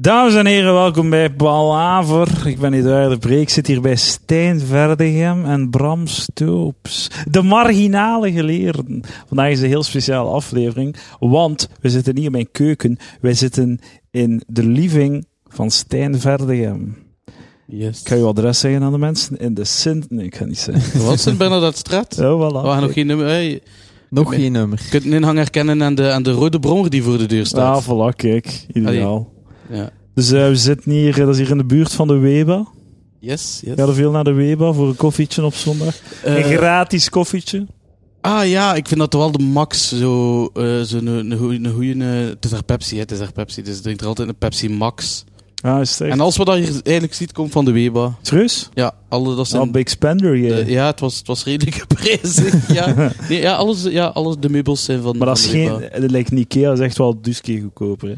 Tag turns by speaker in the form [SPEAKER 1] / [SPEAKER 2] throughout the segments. [SPEAKER 1] Dames en heren, welkom bij Palaver. Ik ben Eduard de Breek, zit hier bij Stijn Verdegem en Bram Stoops. De marginale geleerden. Vandaag is een heel speciale aflevering, want we zitten niet in mijn keuken. Wij zitten in de living van Stijn Verdegem.
[SPEAKER 2] Yes.
[SPEAKER 1] Ik ga uw adres zeggen aan de mensen in de Sint... Nee, ik ga niet zeggen.
[SPEAKER 2] Wat zijn Bernadette Straat?
[SPEAKER 1] Oh, voilà.
[SPEAKER 2] We gaan nog geen nummer. hey, je
[SPEAKER 3] Nog
[SPEAKER 2] Nee.
[SPEAKER 3] geen nummer.
[SPEAKER 2] kunt een inhang herkennen aan de, aan de rode brommer die voor de deur
[SPEAKER 1] Ah,
[SPEAKER 2] staat.
[SPEAKER 1] voilà, kijk. Ideaal.
[SPEAKER 2] Ja.
[SPEAKER 1] Dus eh, we zitten hier, eh, dat is hier in de buurt van de Weba.
[SPEAKER 2] Yes,
[SPEAKER 1] Ik
[SPEAKER 2] yes.
[SPEAKER 1] ga er veel naar de Weba voor een koffietje op zondag.
[SPEAKER 2] Eh,
[SPEAKER 1] een gratis koffietje.
[SPEAKER 2] ah ja, ik vind dat wel de max. Zo, eh zo een, een, goeie- een goeie, eh, het is daar Pepsi, hè, het is daar Pepsi. Dus ik drink er altijd een Pepsi Max.
[SPEAKER 1] Ah, is het echt?
[SPEAKER 2] En alles wat dat je eigenlijk ziet, komt van de Weba.
[SPEAKER 1] Serieus?
[SPEAKER 2] Ja, alle, dat
[SPEAKER 1] Al
[SPEAKER 2] zijn...
[SPEAKER 1] Big Spender,
[SPEAKER 2] eh,
[SPEAKER 1] yeah.
[SPEAKER 2] ja, het was, het was redelijk prijzig. ja. Nee, ja, alles, ja, alles, de meubels zijn van,
[SPEAKER 1] Maar dat is
[SPEAKER 2] van de
[SPEAKER 1] geen...
[SPEAKER 2] Weba.
[SPEAKER 1] Dat lijkt een Ikea, dat is echt wel dus keer goedkoper. Hè?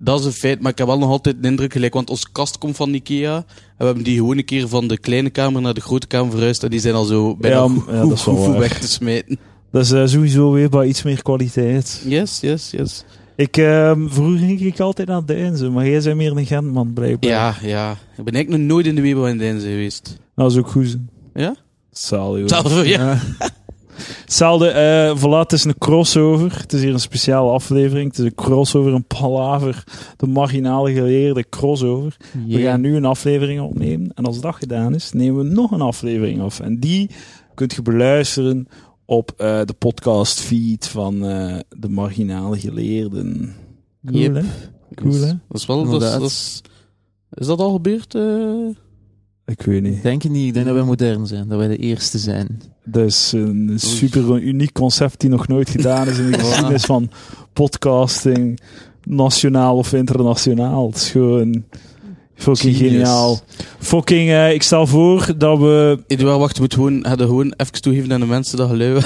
[SPEAKER 2] Dat is een feit, maar ik heb wel nog altijd de indruk gelijk, want onze kast komt van Ikea. En we hebben die gewoon een keer van de kleine kamer naar de grote kamer verhuisd. En die zijn al zo bijna
[SPEAKER 1] Ja,
[SPEAKER 2] goed,
[SPEAKER 1] m- ja, dat is wel
[SPEAKER 2] goed- goed
[SPEAKER 1] waar.
[SPEAKER 2] weg te smijten.
[SPEAKER 1] Dat is eh, sowieso weer bij iets meer kwaliteit.
[SPEAKER 2] Yes, yes, yes.
[SPEAKER 1] Ik, ehm, vroeger ging ik altijd naar Deinzen, maar jij bent meer een Gentman, blijkbaar.
[SPEAKER 2] Ja, ja. Ik ben eigenlijk nog nooit in de Webo in Deinzen geweest.
[SPEAKER 1] Dat is ook goed.
[SPEAKER 2] Ja?
[SPEAKER 1] Zalig, hoor.
[SPEAKER 2] Zelf, ja.
[SPEAKER 1] Hetzelfde, eh voilà, het is een crossover. Het is hier een speciale aflevering. Het is een crossover, een palaver. De marginale geleerde crossover. We gaan nu een aflevering opnemen. En als dat gedaan is, nemen we nog een aflevering af. En die kunt je beluisteren op eh, de podcast feed van eh, de marginale geleerden. Cool,
[SPEAKER 2] Yep.
[SPEAKER 1] hè? Cool,
[SPEAKER 2] Dus
[SPEAKER 1] hè?
[SPEAKER 2] Dat is wel... Dat is,
[SPEAKER 3] Inderdaad.
[SPEAKER 2] dat is, is dat al gebeurd? eh?
[SPEAKER 1] Ik weet
[SPEAKER 3] Ik
[SPEAKER 1] niet.
[SPEAKER 3] denk het niet. Ik denk dat wij modern zijn. Dat wij de eerste zijn.
[SPEAKER 1] Dat is een super uniek concept die nog nooit gedaan is in de geschiedenis van podcasting, nationaal of internationaal. Het is gewoon fucking
[SPEAKER 3] Genius.
[SPEAKER 1] geniaal. Fucking, eh, ik stel voor dat we...
[SPEAKER 2] Eduard, wacht, je moet gewoon, hadden gewoon even toegeven aan de mensen dat gelui,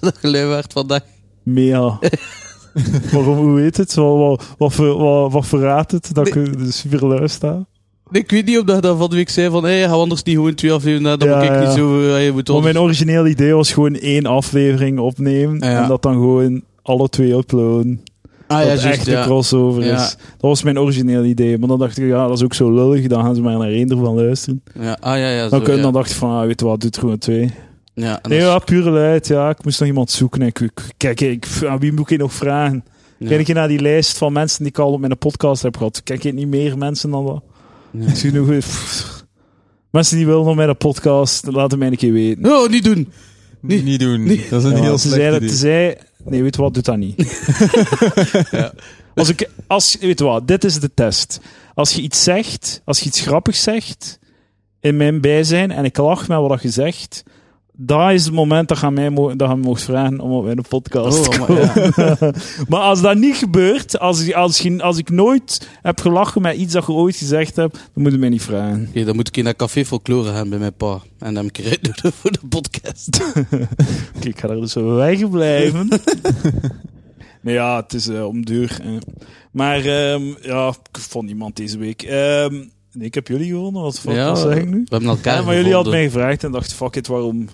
[SPEAKER 2] dat gelui werd vandaag.
[SPEAKER 1] Mea. Waarom, hoe heet het? Wat, wat, wat, ver- wat, wat verraadt het? Dat ik eh, super luister.
[SPEAKER 2] Nee, Ik weet niet of dat je dat van de week zei van, hé, hey, ga anders niet gewoon twee afleveringen naar, dan
[SPEAKER 1] Ja,
[SPEAKER 2] moet ik
[SPEAKER 1] ja.
[SPEAKER 2] niet zo... eh, je moet
[SPEAKER 1] Want
[SPEAKER 2] ons-
[SPEAKER 1] mijn origineel idee was gewoon één aflevering opnemen
[SPEAKER 2] Ja.
[SPEAKER 1] en dat dan gewoon alle twee uploaden.
[SPEAKER 2] Ah
[SPEAKER 1] dat
[SPEAKER 2] juist,
[SPEAKER 1] echt de crossover
[SPEAKER 2] Ja.
[SPEAKER 1] is. Dat was mijn origineel idee. Maar dan dacht ik, ja, dat is ook zo lullig. Dan gaan ze maar naar één ervan luisteren.
[SPEAKER 2] Ja, ah ja, ja. Zo,
[SPEAKER 1] Dan, kun,
[SPEAKER 2] ja.
[SPEAKER 1] dan dacht ik van, ah, weet je wat, doe het gewoon twee.
[SPEAKER 2] Ja, en
[SPEAKER 1] Nee,
[SPEAKER 2] dat
[SPEAKER 1] ja, pure luid. Ja, ik moest nog iemand zoeken. Ik, ik- kijk, ik, aan wie moet ik nog vragen?
[SPEAKER 2] is-
[SPEAKER 1] Kijk ik naar nou die lijst van mensen die ik al op mijn podcast heb gehad. Kijk ik niet meer mensen dan dat?
[SPEAKER 2] Ja.
[SPEAKER 1] Het is genoeg. Pff. Mensen die willen op mijn podcast, laat het mij een keer weten.
[SPEAKER 2] Ja. Oh, niet doen. Nee.
[SPEAKER 3] Niet doen.
[SPEAKER 2] Nee.
[SPEAKER 3] Dat is een
[SPEAKER 1] Ja,
[SPEAKER 3] heel
[SPEAKER 1] ze zei
[SPEAKER 3] slecht
[SPEAKER 1] dat
[SPEAKER 3] idee.
[SPEAKER 1] zij. Nee, weet je wat, doet dat niet. Als ik, als, weet je wat, dit is de test. Als je iets zegt, als je iets grappigs zegt in mijn bijzijn en ik lach met wat je zegt, dat is het moment dat je mij, mo- dat je me mocht vragen om op mijn podcast te
[SPEAKER 2] Oh,
[SPEAKER 1] komen.
[SPEAKER 2] maar, ja.
[SPEAKER 1] Maar als dat niet gebeurt, als, je- als, je- als ik nooit heb gelachen met iets dat je ooit gezegd hebt, dan moet je mij niet vragen.
[SPEAKER 2] Oké, dan moet ik in dat café folklore gaan bij mijn pa. En hem eruit doen voor de podcast.
[SPEAKER 1] Oké, ik ga er dus wel weg blijven. nee, ja, het is eh, om duur. eh. Maar ehm, ja, ik vond niemand deze week. Ehm, nee, ik heb jullie gewonnen. Wat, wat
[SPEAKER 2] Ja,
[SPEAKER 1] zeg ik nu?
[SPEAKER 2] We hebben elkaar
[SPEAKER 1] Ja, maar jullie hadden
[SPEAKER 2] gevonden.
[SPEAKER 1] mij gevraagd en dacht, fuck it, waarom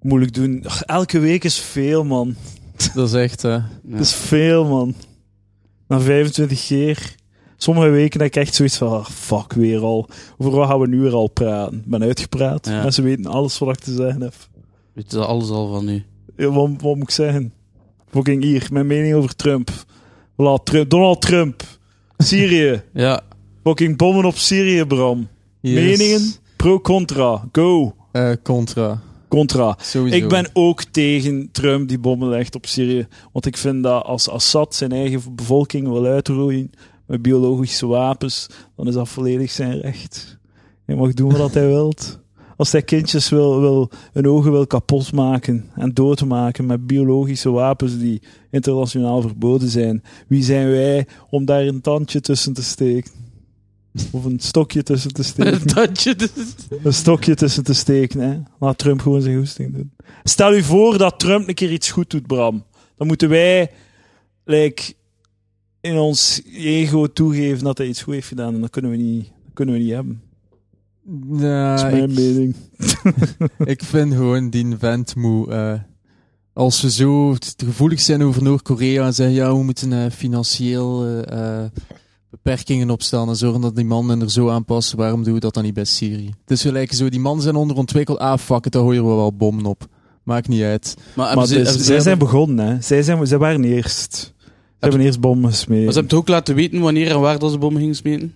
[SPEAKER 1] moeilijk doen? Ach, elke week is veel, man.
[SPEAKER 3] Dat is echt... eh,
[SPEAKER 2] Ja.
[SPEAKER 1] Dat is veel, man. Na 25 keer. Sommige weken heb ik echt zoiets van, ah, fuck, weer al. Over wat gaan we nu weer al praten? Ik ben uitgepraat.
[SPEAKER 2] Ja.
[SPEAKER 1] Mensen weten alles wat ik te zeggen heb.
[SPEAKER 2] Weet je dat alles al van nu?
[SPEAKER 1] Ja, wat, wat moet ik zeggen? Fucking hier, mijn mening over Trump. Voilà, Trump. Donald Trump. Syrië.
[SPEAKER 2] Ja.
[SPEAKER 1] Fucking bommen op Syrië, Bram.
[SPEAKER 3] yes.
[SPEAKER 1] Meningen? Pro-contra. Go.
[SPEAKER 3] Eh, contra.
[SPEAKER 1] Contra.
[SPEAKER 3] Sowieso.
[SPEAKER 1] Ik ben ook tegen Trump die bommen legt op Syrië. Want ik vind dat als Assad zijn eigen bevolking wil uitroeien met biologische wapens, dan is dat volledig zijn recht. Hij mag doen wat hij wilt. Als hij kindjes wil, wil, hun ogen wil kapotmaken en doodmaken met biologische wapens die internationaal verboden zijn, wie zijn wij om daar een tandje tussen te steken? Of een stokje tussen te steken?
[SPEAKER 2] Dat je dus...
[SPEAKER 1] een stokje tussen te steken. Hè. Laat Trump gewoon zijn goesting doen. Stel u voor dat Trump een keer iets goed doet, Bram. Dan moeten wij like, in ons ego toegeven dat hij iets goed heeft gedaan. En dat kunnen we niet, dat kunnen we niet hebben.
[SPEAKER 3] Nou,
[SPEAKER 2] Ah,
[SPEAKER 1] dat is mijn
[SPEAKER 3] ik,
[SPEAKER 1] mening.
[SPEAKER 3] ik vind gewoon die vent moe... eh, als we zo t- gevoelig zijn over Noord-Korea en zeggen... Ja, we moeten eh, financieel... eh, eh, beperkingen opstellen en zorgen dat die man en er zo aanpassen. Waarom doen we dat dan niet bij Syrië? Het is gelijk zo, die mannen zijn onderontwikkeld. Ah, fuck it, daar horen we wel bommen op. Maakt niet uit.
[SPEAKER 2] Maar, hebben
[SPEAKER 1] Maar
[SPEAKER 2] Ah, ze-
[SPEAKER 1] dus,
[SPEAKER 2] hebben ze-
[SPEAKER 1] zij zijn
[SPEAKER 2] hebben-
[SPEAKER 1] begonnen, hè. Zij, zijn, zij waren eerst. Ze hebben eerst bommen
[SPEAKER 2] maar
[SPEAKER 1] gesmeed.
[SPEAKER 2] ze hebben toch ook laten weten wanneer en waar dat ze bommen gingen smeten?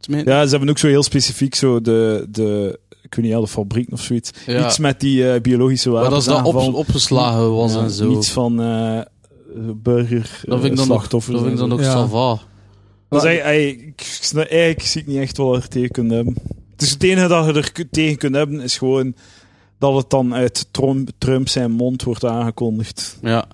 [SPEAKER 2] Smeten?
[SPEAKER 1] Ja, ze hebben ook zo heel specifiek zo de, de ik weet niet, ja, de fabrieken of zoiets.
[SPEAKER 2] Ja.
[SPEAKER 1] Iets met die eh, biologische
[SPEAKER 2] Maar dat
[SPEAKER 1] wapens
[SPEAKER 2] ze dat op,
[SPEAKER 1] aanval.
[SPEAKER 2] opgeslagen was
[SPEAKER 1] Ja,
[SPEAKER 2] en zo.
[SPEAKER 1] Niets van eh, burger,
[SPEAKER 2] Dat vind ik
[SPEAKER 1] eh,
[SPEAKER 2] dan nog, dat
[SPEAKER 1] slachtoffers.
[SPEAKER 2] vind ik dan
[SPEAKER 1] en zo.
[SPEAKER 2] nog
[SPEAKER 3] Ja.
[SPEAKER 2] salva.
[SPEAKER 1] Dus eigenlijk, eigenlijk- ik snap- eigenlijk zie ik niet echt wat er tegen kunt hebben. Dus het enige dat je er ku- tegen kunt hebben is gewoon dat het dan uit Trump, Trump zijn mond wordt aangekondigd.
[SPEAKER 2] Ja.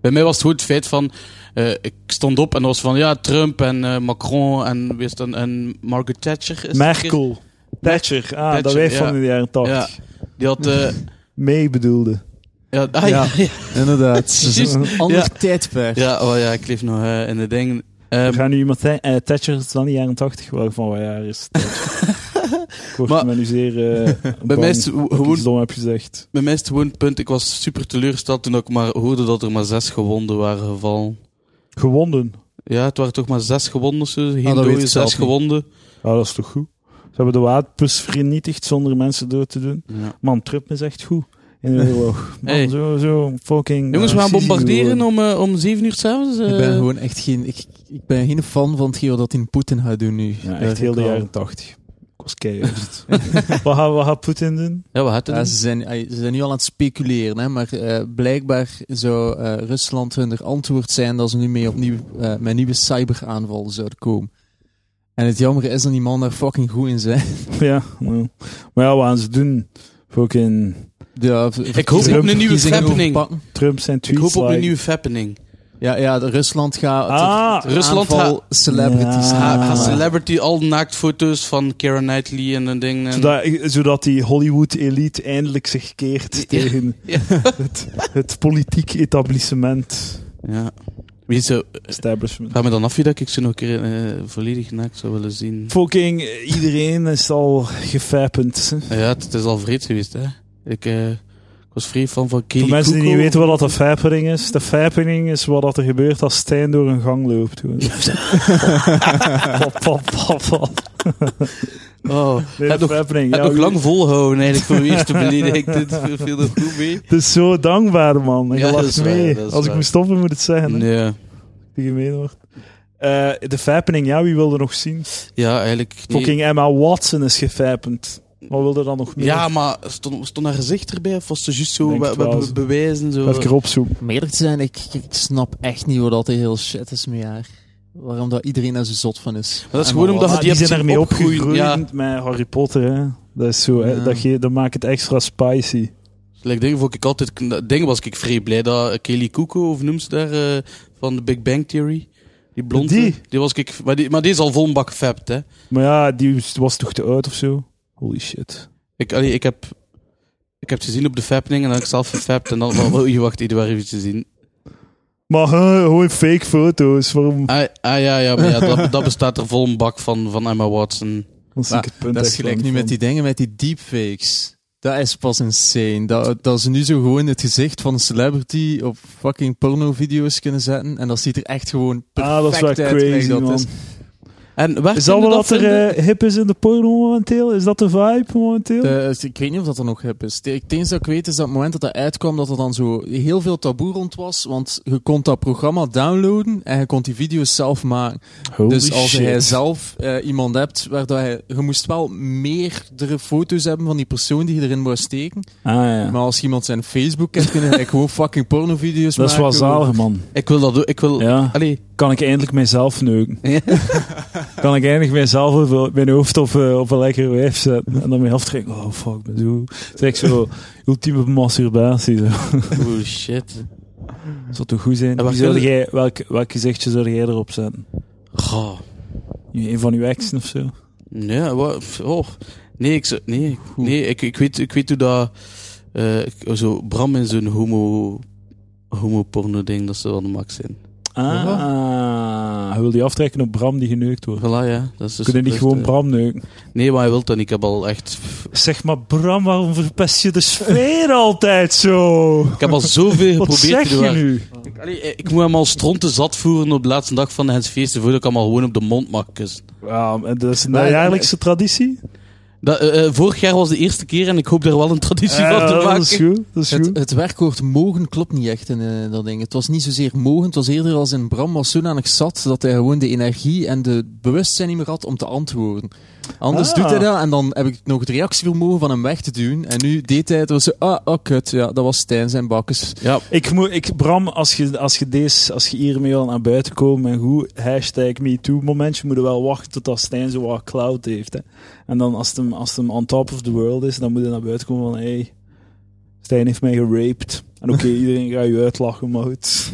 [SPEAKER 2] Bij mij was het gewoon het feit van... eh, ik stond op en dat was van... Ja, Trump en eh, Macron en, wie is het dan, en Margaret Thatcher. Is het een
[SPEAKER 1] Merkel. Thatcher, ah, dat
[SPEAKER 2] Thatcher,
[SPEAKER 1] wijf
[SPEAKER 2] ja.
[SPEAKER 1] van in de jaren 80.
[SPEAKER 2] keer? Die had... eh,
[SPEAKER 1] Mee bedoelde.
[SPEAKER 2] ja, ah, ja. Ja,
[SPEAKER 3] Inderdaad. Het is een ander
[SPEAKER 2] Ja.
[SPEAKER 3] tijdperk.
[SPEAKER 2] ja, oh ja, ik leef nog eh, in de ding. Ehm,
[SPEAKER 1] We gaan nu iemand zijn. eh, Thatcher is dan de jaren 80, waarvan wat jaar is Thatcher? Ik word
[SPEAKER 2] Maar-
[SPEAKER 1] me nu zeer eh,
[SPEAKER 2] bij,
[SPEAKER 1] bang
[SPEAKER 2] mij is
[SPEAKER 1] dat
[SPEAKER 2] het
[SPEAKER 1] ik
[SPEAKER 2] gewoon,
[SPEAKER 1] iets dom heb gezegd.
[SPEAKER 2] bij mij is het gewoon het punt... Ik was super teleurgesteld toen ik maar hoorde dat er maar zes gewonden waren gevallen.
[SPEAKER 1] Gewonden.
[SPEAKER 2] Ja, het waren toch maar zes gewonden of zo. Geen
[SPEAKER 3] Ah, dat weet
[SPEAKER 2] dode,
[SPEAKER 3] ik
[SPEAKER 2] zes
[SPEAKER 3] zelf niet.
[SPEAKER 2] gewonden.
[SPEAKER 1] Ja, dat is toch goed? Ze hebben de wapens vernietigd zonder mensen dood te doen.
[SPEAKER 2] Ja.
[SPEAKER 1] Man, Trump is echt goed. In de oorlog. Man,
[SPEAKER 2] Hey.
[SPEAKER 1] zo, zo fucking...
[SPEAKER 2] Jongens, we
[SPEAKER 1] eh,
[SPEAKER 2] gaan
[SPEAKER 1] Sisi
[SPEAKER 2] bombarderen
[SPEAKER 1] geworden.
[SPEAKER 2] om, eh, om zeven uur s'avonds. eh.
[SPEAKER 3] Ik ben gewoon echt geen, ik, ik ben geen fan van hetgeen dat in Poetin gaat doen nu.
[SPEAKER 1] Ja,
[SPEAKER 3] Daar
[SPEAKER 1] echt heel de
[SPEAKER 3] ook al.
[SPEAKER 1] jaren 80. Ik was keihard. wat gaat, wat gaat Poetin doen?
[SPEAKER 2] Ja, we hadden
[SPEAKER 3] Ja,
[SPEAKER 2] het.
[SPEAKER 3] ze, zijn, eh, ze zijn nu al aan het speculeren, hè, maar eh, blijkbaar zou eh, Rusland hun er antwoord zijn dat ze nu mee opnieuw eh, met nieuwe cyberaanvallen zouden komen. En het jammer is dat die man daar fucking goed in zijn.
[SPEAKER 1] Ja, nou. Maar ja, wat gaan ze doen? Fucking
[SPEAKER 3] Ja,
[SPEAKER 2] Ik hoop
[SPEAKER 1] op een
[SPEAKER 2] nieuwe happening.
[SPEAKER 3] happening.
[SPEAKER 1] Trump zijn
[SPEAKER 2] Ik
[SPEAKER 1] tweets
[SPEAKER 2] hoop op een
[SPEAKER 1] liken.
[SPEAKER 2] nieuwe fappening.
[SPEAKER 3] Ja, ja, de Rusland gaat
[SPEAKER 1] Ah,
[SPEAKER 3] ter- ter
[SPEAKER 2] Rusland
[SPEAKER 3] aanval celebrities
[SPEAKER 1] Ja.
[SPEAKER 2] Ga,
[SPEAKER 3] haken.
[SPEAKER 2] ga
[SPEAKER 1] Ah.
[SPEAKER 2] celebrity al naaktfoto's van Karen Knightley en een ding. En...
[SPEAKER 1] Zodat, zodat die Hollywood-elite eindelijk zich keert tegen
[SPEAKER 2] Ja.
[SPEAKER 1] het, het politiek etablissement.
[SPEAKER 2] Ja. Wie zo,
[SPEAKER 1] Establishment.
[SPEAKER 2] ga me dan af wie dat ik ze nog een keer eh, volledig naakt zou willen zien.
[SPEAKER 1] Fucking eh, iedereen is al gefappend. hè.
[SPEAKER 2] Ja, het, het is al vreed geweest, hè. Ik, eh, ik was vrij fan van Kelly
[SPEAKER 1] Voor mensen die niet
[SPEAKER 2] Kuko.
[SPEAKER 1] weten wat dat de fappering is. De fappering is wat dat er gebeurt als Stijn door een gang loopt. Gewoon. pop, pop, pop, pop.
[SPEAKER 2] Oh,
[SPEAKER 1] Nee,
[SPEAKER 2] heb
[SPEAKER 1] de
[SPEAKER 2] nog, heb
[SPEAKER 1] fappering. Ja,
[SPEAKER 2] nog
[SPEAKER 1] goed.
[SPEAKER 2] lang volgehouden eigenlijk voor weer te beledigen. Ik dit viel- viel er goed mee.
[SPEAKER 1] Het is zo dankbaar, man. En je
[SPEAKER 2] Ja, dat is
[SPEAKER 1] lacht
[SPEAKER 2] waar,
[SPEAKER 1] mee.
[SPEAKER 2] dat is
[SPEAKER 1] Als ik
[SPEAKER 2] waar.
[SPEAKER 1] moet stoppen, moet het zeggen. hè,
[SPEAKER 2] Nee.
[SPEAKER 1] Die gemeen wordt. Eh, de fappering, ja, wie wil er nog zien?
[SPEAKER 2] Ja, eigenlijk niet.
[SPEAKER 1] Fucking Emma Watson is gefapend. Wat wil er dan nog meer?
[SPEAKER 2] Ja, maar stond, stond haar gezicht erbij? Of was ze juist zo
[SPEAKER 1] Denk
[SPEAKER 2] be-
[SPEAKER 1] het wel,
[SPEAKER 2] be-
[SPEAKER 1] zo.
[SPEAKER 2] be- bewijzen? Zo?
[SPEAKER 1] Even opzoeken.
[SPEAKER 3] Om eerlijk te zijn, ik, ik snap echt niet wat dat heel shit is met haar. Waarom dat iedereen daar zo zot van is.
[SPEAKER 2] dat is
[SPEAKER 3] En
[SPEAKER 2] gewoon
[SPEAKER 3] wat-
[SPEAKER 2] omdat-
[SPEAKER 1] Ah,
[SPEAKER 2] die
[SPEAKER 1] die
[SPEAKER 2] hebt
[SPEAKER 1] zijn
[SPEAKER 2] zien
[SPEAKER 1] ermee
[SPEAKER 2] opgroeien,
[SPEAKER 1] opgegroeid met Harry Potter. Hè? Dat, is zo, hè?
[SPEAKER 3] Ja.
[SPEAKER 1] Dat, ge- dat maakt het extra spicy.
[SPEAKER 2] Like, dingen vond ik altijd... kn- Dingen was ik vrij blij dat eh, Kelly Kuko, of noem ze daar, eh, van de Big Bang Theory. Die blonde.
[SPEAKER 1] Die?
[SPEAKER 2] was ik... Maar die, maar die is al vol een bak gefapt, hè.
[SPEAKER 1] Maar ja, die was toch te oud of zo? Holy shit.
[SPEAKER 2] Ik, allee, ik heb... Ik heb het gezien op de fappening en dan heb ik zelf gefapt en dan... Oh, je wacht, ieder waar even te zien.
[SPEAKER 1] Maar hè, gewoon fake foto's. Waarom?
[SPEAKER 2] Ah, ah, ja, ja, maar ja, dat, dat bestaat er vol een bak van, van Emma Watson.
[SPEAKER 1] Dan zie ik het punt
[SPEAKER 3] Dat is
[SPEAKER 1] echt
[SPEAKER 3] gelijk
[SPEAKER 1] wel
[SPEAKER 3] nu
[SPEAKER 1] niet
[SPEAKER 3] met die dingen, met die deepfakes. Dat is pas insane. Dat, dat ze nu zo gewoon het gezicht van een celebrity op fucking porno-video's kunnen zetten. En dat ziet er echt gewoon
[SPEAKER 1] van.
[SPEAKER 3] perfect
[SPEAKER 1] Ah, dat is wel
[SPEAKER 3] uit. gelijk
[SPEAKER 1] crazy,
[SPEAKER 3] dat
[SPEAKER 1] man.
[SPEAKER 3] is.
[SPEAKER 1] Is,
[SPEAKER 2] En waar
[SPEAKER 1] dat
[SPEAKER 2] kunnen
[SPEAKER 1] wel
[SPEAKER 2] we
[SPEAKER 1] dat er
[SPEAKER 2] vinden?
[SPEAKER 1] eh, hip is in de porno momenteel? Is dat de vibe momenteel?
[SPEAKER 3] De- ik weet niet of dat er nog hip is. De- Het enige dat ik weet is dat het moment dat dat uitkwam, dat er dan zo heel veel taboe rond was. Want je kon dat programma downloaden en je kon die video's zelf maken.
[SPEAKER 1] Holy
[SPEAKER 3] dus als
[SPEAKER 1] shit.
[SPEAKER 3] jij zelf eh, iemand hebt waar dat hij... Je moest wel meerdere foto's hebben van die persoon die je erin wou steken.
[SPEAKER 1] Ah, ja.
[SPEAKER 3] Maar als iemand zijn Facebook kent, kunnen hij gewoon fucking pornovideo's
[SPEAKER 1] Dat is
[SPEAKER 3] maken.
[SPEAKER 1] wel zalig, man.
[SPEAKER 2] Ik wil dat... doen, Ik wil...
[SPEAKER 1] Ja.
[SPEAKER 2] Allee.
[SPEAKER 1] Kan ik eindelijk mijzelf neuken? Kan ik eindelijk mijzelf op- mijn hoofd op, eh, op een lekkere wijf zetten? En dan mee aftrekken. Oh fuck, ik ben zo. Het is echt zo ultieme masturbatie. Zo.
[SPEAKER 2] Oh, shit.
[SPEAKER 1] Zou toch goed zijn?
[SPEAKER 2] En waar
[SPEAKER 1] Wie zou
[SPEAKER 2] kunnen-
[SPEAKER 1] jij, welk, welk gezichtje zou jij erop zetten?
[SPEAKER 2] Goh.
[SPEAKER 1] Een van uw exen of zo?
[SPEAKER 2] Nee, wat? Oh. Nee, ik, zou- nee, ik- nee ik, ik, weet, ik weet hoe dat. eh, ik- zo Bram in zo'n homo. homo-porno-ding, dat ze wel de max zijn.
[SPEAKER 1] Ah, hij wil die aftrekken op Bram die geneukt wordt.
[SPEAKER 2] Voilà, ja. Dat is dus
[SPEAKER 1] Kunnen die
[SPEAKER 2] dus,
[SPEAKER 1] gewoon
[SPEAKER 2] eh,
[SPEAKER 1] Bram neuken?
[SPEAKER 2] Nee, maar hij wil dat niet. Ik heb al echt...
[SPEAKER 1] Zeg maar, Bram, waarom verpest je de sfeer altijd zo?
[SPEAKER 2] Ik heb al zoveel geprobeerd.
[SPEAKER 1] Wat zeg
[SPEAKER 2] te doen,
[SPEAKER 1] je
[SPEAKER 2] maar-
[SPEAKER 1] nu?
[SPEAKER 2] Ik, allee, eh, ik moet hem al stronten zat voeren op de laatste dag van de Hens Feesten, voordat ik hem al gewoon op de mond mag kussen.
[SPEAKER 1] Ja, en dat is een
[SPEAKER 3] Maar-
[SPEAKER 1] jaarlijkse traditie.
[SPEAKER 2] Dat, eh, eh, vorig jaar was de eerste keer en ik hoop daar wel een traditie van
[SPEAKER 1] Eh,
[SPEAKER 2] te
[SPEAKER 1] dat is
[SPEAKER 2] maken.
[SPEAKER 1] goed. Dat is
[SPEAKER 3] Het,
[SPEAKER 1] goed.
[SPEAKER 3] het werkwoord mogen klopt niet echt in eh, dat ding. Het was niet zozeer mogen, het was eerder als in Bram was zodanig zat dat hij gewoon de energie en de bewustzijn niet meer had om te antwoorden. Anders
[SPEAKER 1] Ah.
[SPEAKER 3] doet hij dat en dan heb ik nog het reactievermogen van hem weg te doen. En nu deed hij het, was zo, ah, oh kut, ja, dat was Stijn zijn bakkes.
[SPEAKER 2] Ja,
[SPEAKER 1] Ik moet, ik, Bram, als je, als, je deze, als je hiermee wil naar buiten komen en goed, hashtag MeToo momentje, moet je wel wachten tot als Stijn zo wat cloud heeft. Hè. En dan als het, hem, als het hem on top of the world is, dan moet je naar buiten komen van, hey, Stijn heeft mij geraped. En oké, iedereen gaat je uitlachen, maar goed.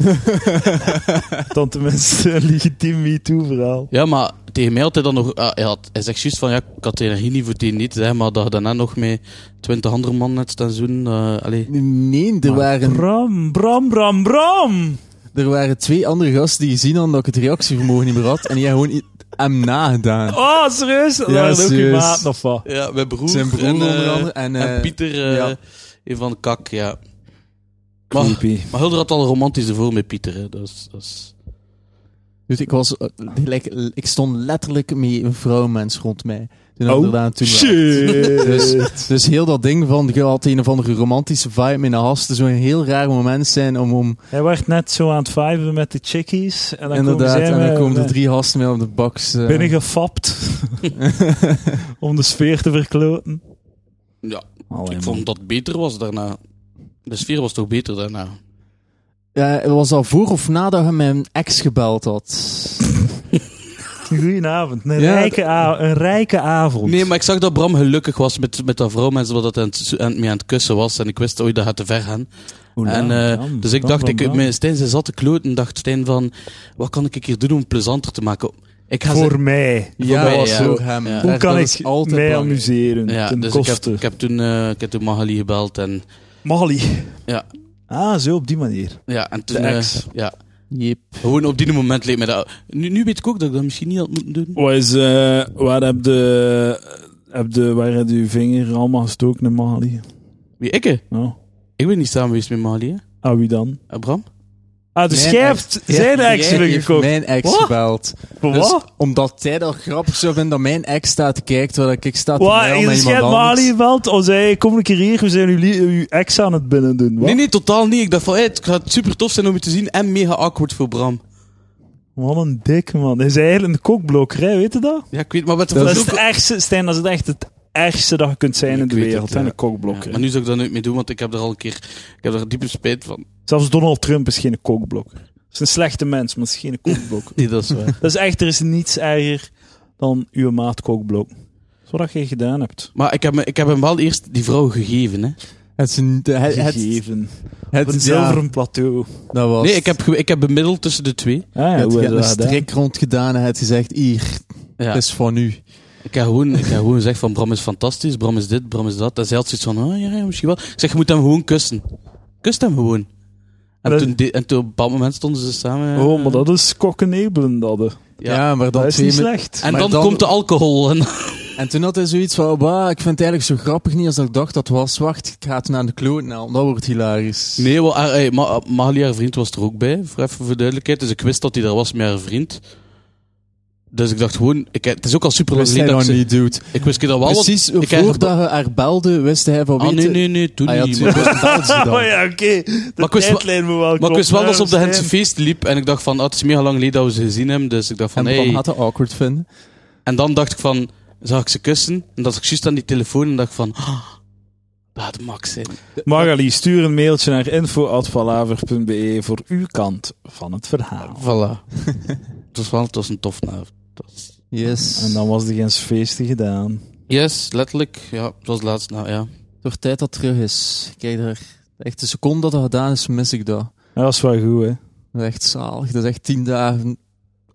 [SPEAKER 1] dan tenminste een legitiem MeToo verhaal.
[SPEAKER 2] ja, maar tegen mij had hij dan nog... ah, hij, had, hij zegt juist van, ja, ik had de energie niet voor die niet, hè, maar dat je daarna nog met twintig andere mannen net staan zoen. eh allee.
[SPEAKER 3] Nee, er waren,
[SPEAKER 1] Bram, Bram, Bram, Bram!
[SPEAKER 3] er waren twee andere gasten die gezien hadden dat ik het reactievermogen niet meer had. En die hebben gewoon i- hem nagedaan.
[SPEAKER 1] Oh, serieus? Dat
[SPEAKER 3] Ja,
[SPEAKER 1] waren ook je
[SPEAKER 3] serieus.
[SPEAKER 1] maat of wat?
[SPEAKER 2] Ja, mijn broer.
[SPEAKER 3] Zijn broer
[SPEAKER 2] en, eh,
[SPEAKER 3] onder andere. En,
[SPEAKER 2] en
[SPEAKER 3] Oh, eh,
[SPEAKER 2] Pieter eh,
[SPEAKER 3] ja.
[SPEAKER 2] een van de Kak, ja. Maar, maar Hulder had al een romantische vorm met Pieter, hè. Dat is, dat is...
[SPEAKER 3] Dus ik, was, eh, gelijk, eh, ik stond letterlijk met een vrouwenmens rond mij. Toen
[SPEAKER 1] Oh,
[SPEAKER 3] inderdaad, toen wel.
[SPEAKER 1] Shit!
[SPEAKER 3] Dus, dus heel dat ding van, je had een of andere romantische vibe in de hasten, zou een heel raar moment zijn om... om
[SPEAKER 1] Hij werd net zo aan het viben met de chickies. En dan
[SPEAKER 3] inderdaad,
[SPEAKER 1] komen zij
[SPEAKER 3] en dan
[SPEAKER 1] met-
[SPEAKER 3] komen de
[SPEAKER 1] met-
[SPEAKER 3] drie hasten mee op de baks. eh.
[SPEAKER 1] binnengefapt. om de sfeer te verkloten.
[SPEAKER 2] Ja,
[SPEAKER 1] Allee,
[SPEAKER 2] ik
[SPEAKER 1] man.
[SPEAKER 2] vond dat het beter was daarna. De sfeer was toch beter daarna?
[SPEAKER 3] Ja, het was al voor of nadat hij mijn ex gebeld had.
[SPEAKER 1] Goedenavond. Een,
[SPEAKER 3] Ja,
[SPEAKER 1] rijke a- een rijke avond.
[SPEAKER 2] Nee, maar ik zag dat Bram gelukkig was met, met dat vrouwmens, wat dat hij aan het, aan, mee aan het kussen was. En ik wist, ooit dat gaat te ver gaan.
[SPEAKER 1] Oeh,
[SPEAKER 2] en,
[SPEAKER 1] ja,
[SPEAKER 2] eh,
[SPEAKER 1] ja,
[SPEAKER 2] dus ik
[SPEAKER 1] dan,
[SPEAKER 2] dacht,
[SPEAKER 1] dan,
[SPEAKER 2] ik,
[SPEAKER 1] dan.
[SPEAKER 2] mijn- Stijn ze zat te kloten, dacht Stijn van, wat kan ik hier doen om het plezanter te maken? Ik ga
[SPEAKER 1] Voor mij. Voor
[SPEAKER 2] Ja, ja,
[SPEAKER 1] mij,
[SPEAKER 2] ja.
[SPEAKER 1] zo.
[SPEAKER 3] voor hem.
[SPEAKER 2] Hoe
[SPEAKER 1] Hoe
[SPEAKER 3] Daar-
[SPEAKER 1] kan
[SPEAKER 3] dat
[SPEAKER 1] ik
[SPEAKER 3] is altijd
[SPEAKER 1] mij
[SPEAKER 3] belangrijk.
[SPEAKER 1] amuseren?
[SPEAKER 2] ze- Ja,
[SPEAKER 1] ten
[SPEAKER 2] dus ik heb,
[SPEAKER 1] koste.
[SPEAKER 2] ik heb toen, eh ik heb toen Magali gebeld en...
[SPEAKER 1] Molly.
[SPEAKER 2] Ja.
[SPEAKER 1] Ah, zo op die manier.
[SPEAKER 2] Ja, en toen...
[SPEAKER 1] De
[SPEAKER 2] eh,
[SPEAKER 1] ex.
[SPEAKER 2] ja,
[SPEAKER 3] Jep.
[SPEAKER 2] gewoon op die moment leek me dat... Nu, nu weet ik ook dat ik dat misschien niet had moeten doen.
[SPEAKER 1] Wat is, eh, waar heb de... Heb de, waar heb je vinger allemaal gestoken in Mali?
[SPEAKER 2] Wie, ik? hè?
[SPEAKER 1] Nou,
[SPEAKER 2] Ik ben niet samen geweest met Magali, hè?
[SPEAKER 1] ah, wie dan?
[SPEAKER 2] Eh, Bram?
[SPEAKER 1] Ah, dus
[SPEAKER 3] Mijn
[SPEAKER 1] jij
[SPEAKER 3] ex-
[SPEAKER 1] hebt zijn
[SPEAKER 3] Ja,
[SPEAKER 1] ex
[SPEAKER 3] jij heeft
[SPEAKER 1] binnengekomen.
[SPEAKER 3] mijn ex
[SPEAKER 1] Wat?
[SPEAKER 3] gebeld.
[SPEAKER 1] Voor
[SPEAKER 3] Dus
[SPEAKER 1] wat?
[SPEAKER 3] omdat jij dat grappig zou vinden dat mijn ex staat te kijken terwijl ik sta te
[SPEAKER 1] Wat?
[SPEAKER 3] mailen naar
[SPEAKER 1] Is jij
[SPEAKER 3] iemand anders.
[SPEAKER 1] Mali gebeld? Of zei hij, kom een keer hier, we zijn uw, li- uw ex aan het binnen doen. Wat?
[SPEAKER 2] Nee, nee, totaal niet. Ik dacht van, hey, het gaat super tof zijn om je te zien en mega awkward voor Bram.
[SPEAKER 1] Wat een dik man. Hij is eigenlijk een kokblokkerij, weet je dat?
[SPEAKER 2] Ja, ik weet, maar wat
[SPEAKER 1] Dat,
[SPEAKER 2] was
[SPEAKER 1] is het ergste, Stijn, dat is echt het ergste dat je kunt zijn
[SPEAKER 2] Ik
[SPEAKER 1] in de
[SPEAKER 2] weet
[SPEAKER 1] wereld.
[SPEAKER 2] het,
[SPEAKER 1] hè,
[SPEAKER 2] ja.
[SPEAKER 1] Een kokblokker.
[SPEAKER 2] maar nu zou ik dat nooit meer doen, want ik heb er al een keer... Ik heb er diepe spijt van.
[SPEAKER 1] Zelfs Donald Trump is geen kokblokker. Het is een slechte mens, maar het is geen kokblokker.
[SPEAKER 2] Nee, dat is waar.
[SPEAKER 1] dat is echt, er is niets erger dan uw maat kokblokken. Zodat je gedaan hebt.
[SPEAKER 2] maar ik heb, me- ik heb hem wel eerst die vrouw gegeven, hè.
[SPEAKER 3] Het is een- het- het-
[SPEAKER 1] Gegeven.
[SPEAKER 3] het-
[SPEAKER 1] Op een
[SPEAKER 3] ja,
[SPEAKER 1] zilveren plateau.
[SPEAKER 3] dat was-
[SPEAKER 2] Nee, ik heb, ge- ik heb bemiddeld tussen de twee.
[SPEAKER 1] Ah, ja,
[SPEAKER 3] Hij had
[SPEAKER 1] hoe heb je
[SPEAKER 3] een
[SPEAKER 1] dat gedaan?
[SPEAKER 3] strik rond gedaan en hij had gezegd, hier,
[SPEAKER 2] Ja.
[SPEAKER 3] het is van u.
[SPEAKER 2] Ik heb gewoon, ik heb gewoon gezegd van Bram is fantastisch, Bram is dit, Bram is dat. En zij had zoiets van, oh ja, ja, misschien wel. Ik zeg, je moet hem gewoon kussen. Kust hem gewoon. En
[SPEAKER 1] Dat-
[SPEAKER 2] toen, de- en toen op een bepaald moment stonden ze samen. eh,
[SPEAKER 1] Oh, maar dat is kokkenebelen, dat. hè.
[SPEAKER 2] Ja.
[SPEAKER 3] Ja, maar dan
[SPEAKER 1] Dat is
[SPEAKER 3] twee
[SPEAKER 1] niet
[SPEAKER 3] min-
[SPEAKER 1] slecht.
[SPEAKER 2] En
[SPEAKER 3] maar
[SPEAKER 2] dan,
[SPEAKER 3] dan-
[SPEAKER 2] komt de alcohol. En,
[SPEAKER 3] En toen had hij zoiets van, bah, ik vind het eigenlijk zo grappig niet als dat ik dacht dat was. Wacht, ik ga het naar de kloot halen, dat wordt hilarisch.
[SPEAKER 2] nee, wel, haar, hey, Ma- Magali, haar vriend, was er ook bij, voor even voor duidelijkheid. Dus ik wist dat hij daar was met haar vriend. Dus ik dacht gewoon, ik, het is ook al super lang
[SPEAKER 3] wist hij
[SPEAKER 2] geleden dat
[SPEAKER 3] dat
[SPEAKER 2] ik ze-
[SPEAKER 3] niet, dude.
[SPEAKER 2] Ik wist dat wel wat-
[SPEAKER 3] Precies
[SPEAKER 2] ik heb
[SPEAKER 3] voordat hij haar belde, wist hij van,
[SPEAKER 2] Ah,
[SPEAKER 3] weet
[SPEAKER 2] nee,
[SPEAKER 3] je-
[SPEAKER 2] nee, nee, toen
[SPEAKER 3] Ah, ja,
[SPEAKER 2] niet.
[SPEAKER 3] tuurlijk,
[SPEAKER 2] maar-
[SPEAKER 3] dat belden ze dan.
[SPEAKER 1] Oh ja, oké. De
[SPEAKER 2] Maar ik wist wel-
[SPEAKER 1] tijdlijn moet wel
[SPEAKER 2] Maar ik
[SPEAKER 1] kloppen,
[SPEAKER 2] wist wel dat ze op de
[SPEAKER 1] hè,
[SPEAKER 2] Hense feest liep en ik dacht van, ah, het is mega lang geleden dat we ze gezien hebben. Dus ik dacht
[SPEAKER 3] En
[SPEAKER 2] van,
[SPEAKER 3] dan
[SPEAKER 2] hey,
[SPEAKER 3] had hij awkward vinden.
[SPEAKER 2] En dan dacht ik van, zag ik ze kussen? En dat ik juist aan die telefoon en dacht ik van, ah, dat had Max zijn.
[SPEAKER 1] Magali, stuur een mailtje naar info.palaver.be voor uw kant van het verhaal.
[SPEAKER 2] Voilà. het, was wel, het was een tof avond. Het was-
[SPEAKER 3] Yes.
[SPEAKER 1] En dan was de Gens feesten gedaan.
[SPEAKER 2] Yes, letterlijk. Ja, het was laatst. Nou ja.
[SPEAKER 3] Het wordt tijd dat het terug is. Kijk daar. Echt de seconde dat dat gedaan is, mis ik dat.
[SPEAKER 1] Ja, dat is wel goed, hè.
[SPEAKER 3] Dat is echt zalig. Dat is echt tien dagen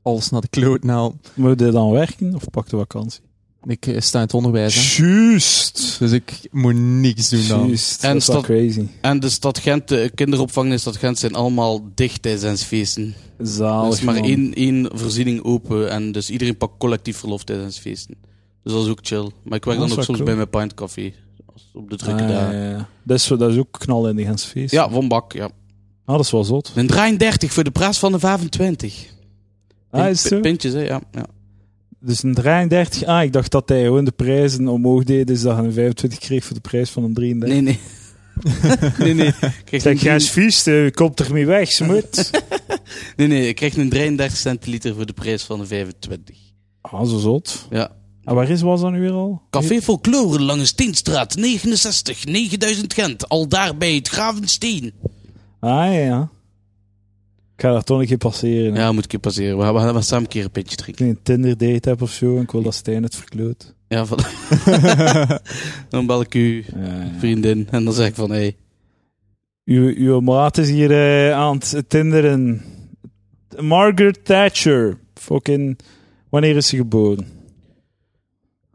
[SPEAKER 3] alles naar de kloot nou.
[SPEAKER 1] Moet je dan werken of pak de vakantie?
[SPEAKER 3] Ik eh, sta in het onderwijs, hè.
[SPEAKER 1] Juist.
[SPEAKER 3] Dus ik moet niks doen dan.
[SPEAKER 1] Juist.
[SPEAKER 2] En
[SPEAKER 1] Dat is wel
[SPEAKER 2] stad-
[SPEAKER 1] crazy.
[SPEAKER 2] En de stad Gent, de kinderopvang in de stad Gent zijn allemaal dicht tijdens feesten. Er
[SPEAKER 1] Zalig,
[SPEAKER 2] is Dus maar
[SPEAKER 1] man.
[SPEAKER 2] één, één voorziening open en dus iedereen pakt collectief verlof tijdens feesten. Dus dat is ook chill. Maar ik werk
[SPEAKER 1] Dat
[SPEAKER 2] dan
[SPEAKER 1] is
[SPEAKER 2] ook
[SPEAKER 1] wel
[SPEAKER 2] soms
[SPEAKER 1] cool.
[SPEAKER 2] bij mijn Pint Café. als- Op de drukke
[SPEAKER 1] Ah,
[SPEAKER 2] dagen.
[SPEAKER 1] ja, ja. Dat, is, dat is ook knal in die Gentse feest.
[SPEAKER 2] Ja, van Bak, ja.
[SPEAKER 1] Ah, dat is wel zot.
[SPEAKER 2] Een 33 voor de prijs van de 25.
[SPEAKER 1] Ah, is het zo?
[SPEAKER 2] Pintjes, hè? Ja, ja.
[SPEAKER 1] Dus een 33. Ah, ik dacht dat hij gewoon de prijzen omhoog deed. Dus dat hij een 25 kreeg voor de prijs van een 33.
[SPEAKER 2] Nee, nee. nee, nee. Ik
[SPEAKER 1] Ik
[SPEAKER 2] kreeg
[SPEAKER 1] zeg, jij
[SPEAKER 2] een,
[SPEAKER 1] is vies, hè. je komt ermee weg, smut.
[SPEAKER 2] nee, nee, ik kreeg een 33 centiliter voor de prijs van de 25.
[SPEAKER 1] ah, zo zot.
[SPEAKER 2] Ja.
[SPEAKER 1] En waar is, was dat nu weer al?
[SPEAKER 2] Café Folklore, Lange Steenstraat, 69, 9000 Gent. Al daar bij het Gravensteen.
[SPEAKER 1] Ah, ja. Ik ga daar toch een keer passeren. hè.
[SPEAKER 2] Ja, moet ik je passeren. We gaan, we gaan samen een keer een pintje
[SPEAKER 1] Ik
[SPEAKER 2] drinken.
[SPEAKER 1] een Tinder date heb of zo en ik wil dat Stijn het verkloot.
[SPEAKER 2] Ja, van... dan bel ik uw vriendin en dan zeg ik van, hé, hey,
[SPEAKER 1] Uw, uw maat is hier eh, aan het tinderen. Margaret Thatcher. Fucking... Wanneer is ze geboren?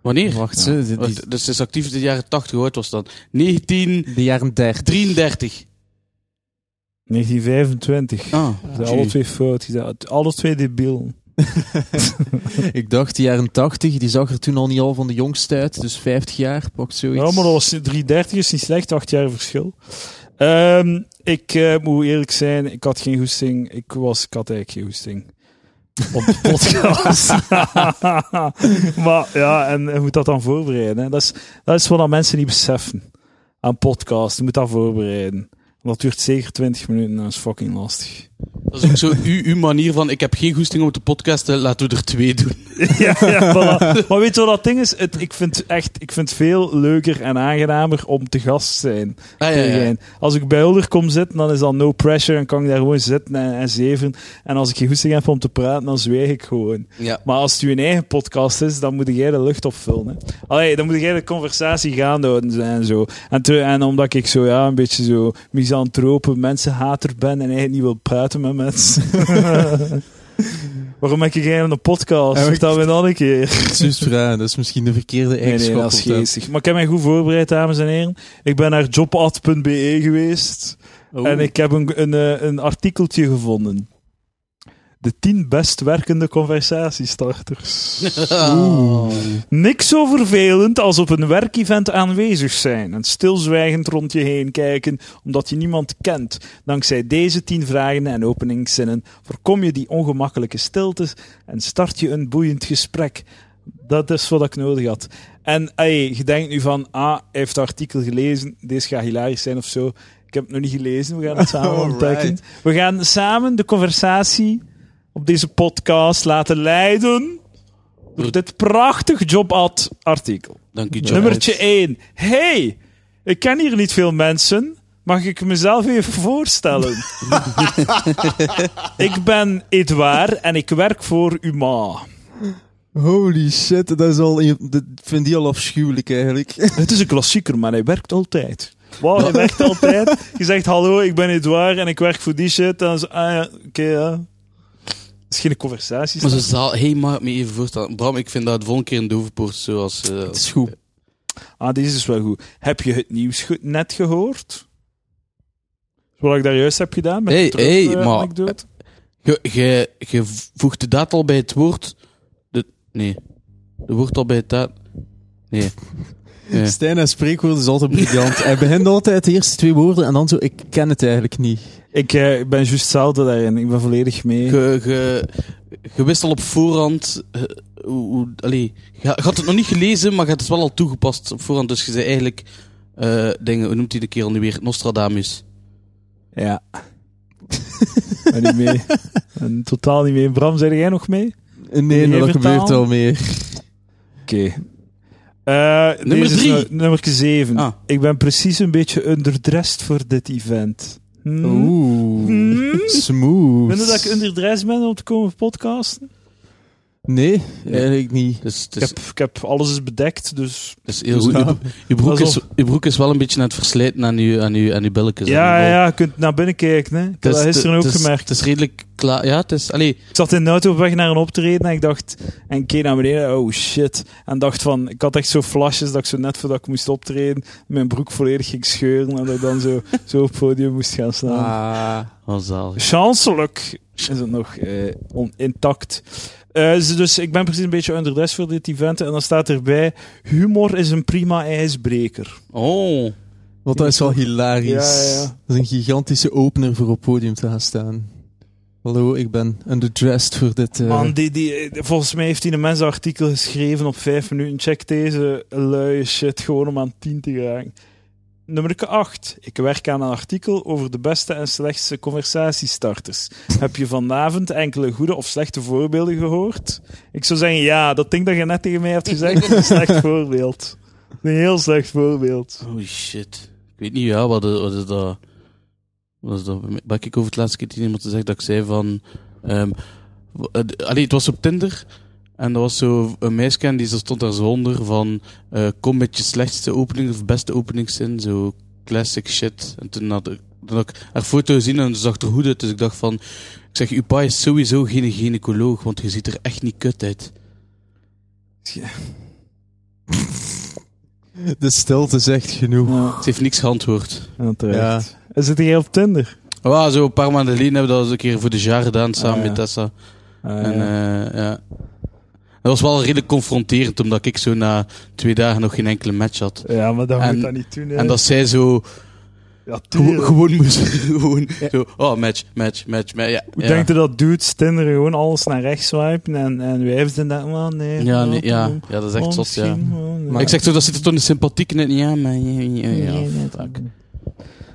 [SPEAKER 2] wanneer?
[SPEAKER 3] Wacht, ze, die- die-
[SPEAKER 2] Wacht, Dus het is actief in de jaren 80, hoor, het was dan 1933.
[SPEAKER 3] de jaren 30.
[SPEAKER 1] 1925.
[SPEAKER 2] Ah,
[SPEAKER 1] Ze zijn alle twee fout. Ze zijn Alle twee debiel.
[SPEAKER 3] ik dacht, de jaren 80, die zag er toen al niet al van de jongste uit. Dus 50 jaar, pakt zoiets.
[SPEAKER 1] Ja, maar dat was 330 is niet slecht, acht jaar verschil. Ehm, ik eh, moet eerlijk zijn, ik had geen goesting. Ik, was, ik had eigenlijk geen goesting. Op de podcast. maar ja, en je moet dat dan voorbereiden. Hè. Dat, is, dat is wat dat mensen niet beseffen. Aan podcast, je moet dat voorbereiden. Dat duurt zeker 20 minuten en dat is fucking lastig.
[SPEAKER 2] Dat is ook zo uw, uw manier van, ik heb geen goesting om te podcasten, laten we er twee doen.
[SPEAKER 1] ja, ja, voilà. Maar weet je wat dat ding is? Het, ik vind echt, ik vind het veel leuker en aangenamer om te gast te zijn.
[SPEAKER 2] Ah, ja, ja.
[SPEAKER 1] Tegen. Als ik bij Hulder kom zitten, dan is dat no pressure en kan ik daar gewoon zitten en, en zeven. En als ik geen goesting heb om te praten, dan zwijg ik gewoon.
[SPEAKER 2] ja.
[SPEAKER 1] Maar als het je eigen podcast is, dan moet jij de lucht opvullen. Hè. Allee, dan moet jij de conversatie gaande houden en zo. En, te- en omdat ik zo ja, een beetje zo misantrope mensenhater ben en eigenlijk niet wil praten met mensen. Waarom heb ik eigenlijk een podcast?
[SPEAKER 3] Ja, maar ik-
[SPEAKER 1] Vertel me dan een keer.
[SPEAKER 3] Precies vragen, dat is misschien de verkeerde
[SPEAKER 1] Nee, nee,
[SPEAKER 3] eigenschap.
[SPEAKER 1] dat is
[SPEAKER 3] of dat.
[SPEAKER 1] geestig. Maar ik heb mij goed voorbereid, dames en heren. Ik ben naar jobad.be geweest
[SPEAKER 2] Oh.
[SPEAKER 1] en ik heb een, een, eh, een artikeltje gevonden. De 10 best werkende conversatiestarters. Niks zo vervelend als op een werkevent aanwezig zijn en stilzwijgend rond je heen kijken omdat je niemand kent. Dankzij deze tien vragen en openingszinnen voorkom je die ongemakkelijke stiltes en start je een boeiend gesprek. Dat is wat ik nodig had. En ey, je denkt nu van, ah, hij heeft het artikel gelezen, deze gaat hilarisch zijn of zo. Ik heb het nog niet gelezen, we gaan het samen
[SPEAKER 3] Alright.
[SPEAKER 1] ontdekken. We gaan samen de conversatie op deze podcast laten leiden door dit prachtig jobad artikel.
[SPEAKER 2] Dank u, Joe.
[SPEAKER 1] Nummertje 1. Hey, ik ken hier niet veel mensen. Mag ik mezelf even voorstellen? ik ben Edouard en ik werk voor UMA.
[SPEAKER 3] Holy shit, dat is al. Dat vind die al afschuwelijk eigenlijk.
[SPEAKER 1] Het is een klassieker, maar hij werkt altijd. Wow, hij werkt altijd. Je zegt, hallo, ik ben Edouard en ik werk voor die shit. En dan is, ah ja, oké, ja. Het is geen conversatie.
[SPEAKER 2] Maar ze zaal, hey, mag ik me even voorstellen? Bram, ik vind dat de volgende keer een dovenpoort zoals... eh,
[SPEAKER 3] Dat is goed.
[SPEAKER 1] Ah, deze is wel goed. Heb je het nieuws goed- net gehoord? Wat ik daar juist heb gedaan met
[SPEAKER 2] Hey,
[SPEAKER 1] de terug,
[SPEAKER 2] hey,
[SPEAKER 1] eh,
[SPEAKER 2] maar-
[SPEAKER 1] anekdote?
[SPEAKER 2] Je, je, je voegt de daad al bij het woord. De, nee. De woord al bij het daad. Nee. Nee.
[SPEAKER 3] Stijn en spreekwoord is altijd briljant. Hij begint altijd de eerste twee woorden en dan zo. Ik ken het eigenlijk niet.
[SPEAKER 1] Ik eh, ben juist zelden daarin. Ik ben volledig mee.
[SPEAKER 2] Je, je, je wist al op voorhand. eh, hoe, hoe- allee, je, had- je had het nog niet gelezen, maar je had het wel al toegepast op voorhand. Dus je zei eigenlijk eh, dingen. Hoe noemt hij de kerel nu weer? Nostradamus.
[SPEAKER 1] Ja. ben niet mee. En totaal niet mee. Bram, zijn jij nog mee?
[SPEAKER 3] Nee,
[SPEAKER 1] Jij
[SPEAKER 3] dat
[SPEAKER 1] vertaal?
[SPEAKER 3] gebeurt al meer.
[SPEAKER 1] Oké. Eh,
[SPEAKER 2] Nummer
[SPEAKER 1] deze is
[SPEAKER 2] drie.
[SPEAKER 1] nu- nummer 7.
[SPEAKER 2] Ah.
[SPEAKER 1] Ik ben precies een beetje underdressed voor dit event. Hm?
[SPEAKER 3] Oeh.
[SPEAKER 1] Hm?
[SPEAKER 3] Smooth.
[SPEAKER 1] Vind je dat ik underdressed ben om te komen podcasten?
[SPEAKER 3] Nee, eigenlijk niet.
[SPEAKER 2] Dus, het
[SPEAKER 1] Ik
[SPEAKER 2] is-
[SPEAKER 1] heb, ik heb alles is bedekt, dus...
[SPEAKER 2] het is heel goed. Je, je broek
[SPEAKER 1] Pas
[SPEAKER 2] is, je broek is wel een beetje aan het verslijten aan je, aan je, aan je billetjes.
[SPEAKER 1] Ja,
[SPEAKER 2] Aan je
[SPEAKER 1] ja,
[SPEAKER 2] bol.
[SPEAKER 1] ja, je kunt naar binnen kijken. Hè. Ik heb
[SPEAKER 2] Het
[SPEAKER 1] dat
[SPEAKER 2] is-
[SPEAKER 1] gisteren ook
[SPEAKER 2] het is-
[SPEAKER 1] gemerkt.
[SPEAKER 2] Het is redelijk klaar. Ja, het is... Allee,
[SPEAKER 1] Ik zat in de auto op weg naar een optreden en ik dacht... En ik keek naar beneden, oh shit. En dacht van... Ik had echt zo flashes dat ik zo net voordat ik moest optreden... Mijn broek volledig ging scheuren en dat ik dan zo, zo op het podium moest gaan staan.
[SPEAKER 3] Ah.
[SPEAKER 2] wat zalig.
[SPEAKER 1] Chancelijk is het nog eh, on- intact. Eh, ze- dus ik ben precies een beetje underdressed voor dit event. En dan staat erbij... Humor is een prima ijsbreker.
[SPEAKER 2] Oh.
[SPEAKER 3] Want dat is wel hilarisch.
[SPEAKER 1] Ja, ja, ja.
[SPEAKER 3] Dat is een gigantische opener voor op podium te gaan staan. Hallo, ik ben underdressed voor dit. eh,
[SPEAKER 1] Man, die, die, volgens mij heeft hij een mensenartikel geschreven op vijf minuten. Check deze luie shit gewoon om aan 10 te geraken. Nummer 8. Ik werk aan een artikel over de beste en slechtste conversatiestarters. Heb je vanavond enkele goede of slechte voorbeelden gehoord? Ik zou zeggen, ja, dat ding dat je net tegen mij hebt gezegd is een slecht voorbeeld. Een heel slecht voorbeeld.
[SPEAKER 2] Oh shit. Ik weet niet, ja, wat, wat is dat... Wat is dat? Ben ik over het laatste keer tegen iemand te zeggen dat ik zei van... ehm, w- eh, d- allee, het was op Tinder. En er was zo een meisje en die zo stond daar zonder van... eh, kom met je slechtste opening of beste openingszin. Zo classic shit. En toen had ik, toen had ik haar foto gezien en ze zag er goed uit. Dus ik dacht van... Ik zeg, uw pa is sowieso geen gynaecoloog, want je ziet er echt niet kut uit.
[SPEAKER 3] De stilte zegt genoeg.
[SPEAKER 1] Ja,
[SPEAKER 2] Ze heeft niks geantwoord.
[SPEAKER 1] en terecht. Is het hier op Tinder?
[SPEAKER 2] Ja, zo een paar maanden geleden hebben we dat eens een keer voor de jaar gedaan, samen
[SPEAKER 1] Ah, ja.
[SPEAKER 2] met Tessa.
[SPEAKER 1] Ah,
[SPEAKER 2] En,
[SPEAKER 1] ja.
[SPEAKER 2] eh, ja. Dat was wel redelijk confronterend, omdat ik zo na twee dagen nog geen enkele match had.
[SPEAKER 1] ja, eh, maar dat
[SPEAKER 2] eh, en-
[SPEAKER 1] moet dat niet doen. hè.
[SPEAKER 2] En dat zij zo
[SPEAKER 1] ja,
[SPEAKER 2] gewo-
[SPEAKER 1] tuurlijk.
[SPEAKER 2] gewoon moest. gewoon zo, oh, match, match, match. match. Ja,
[SPEAKER 1] Hoe
[SPEAKER 2] ja.
[SPEAKER 1] denkt u dat dudes Tinder gewoon alles naar rechts swipen en, en wijven zijn dat, oh nee.
[SPEAKER 2] ja,
[SPEAKER 1] oh,
[SPEAKER 2] nee, ja.
[SPEAKER 1] oh,
[SPEAKER 2] ja, dat is echt
[SPEAKER 1] oh,
[SPEAKER 2] zot, ja.
[SPEAKER 1] misschien, oh, nee.
[SPEAKER 2] Maar ik zeg zo, dat zit er toch een sympathiek net niet aan, maar... Ja, ja, ja,
[SPEAKER 1] Nee, nee,
[SPEAKER 2] fuck.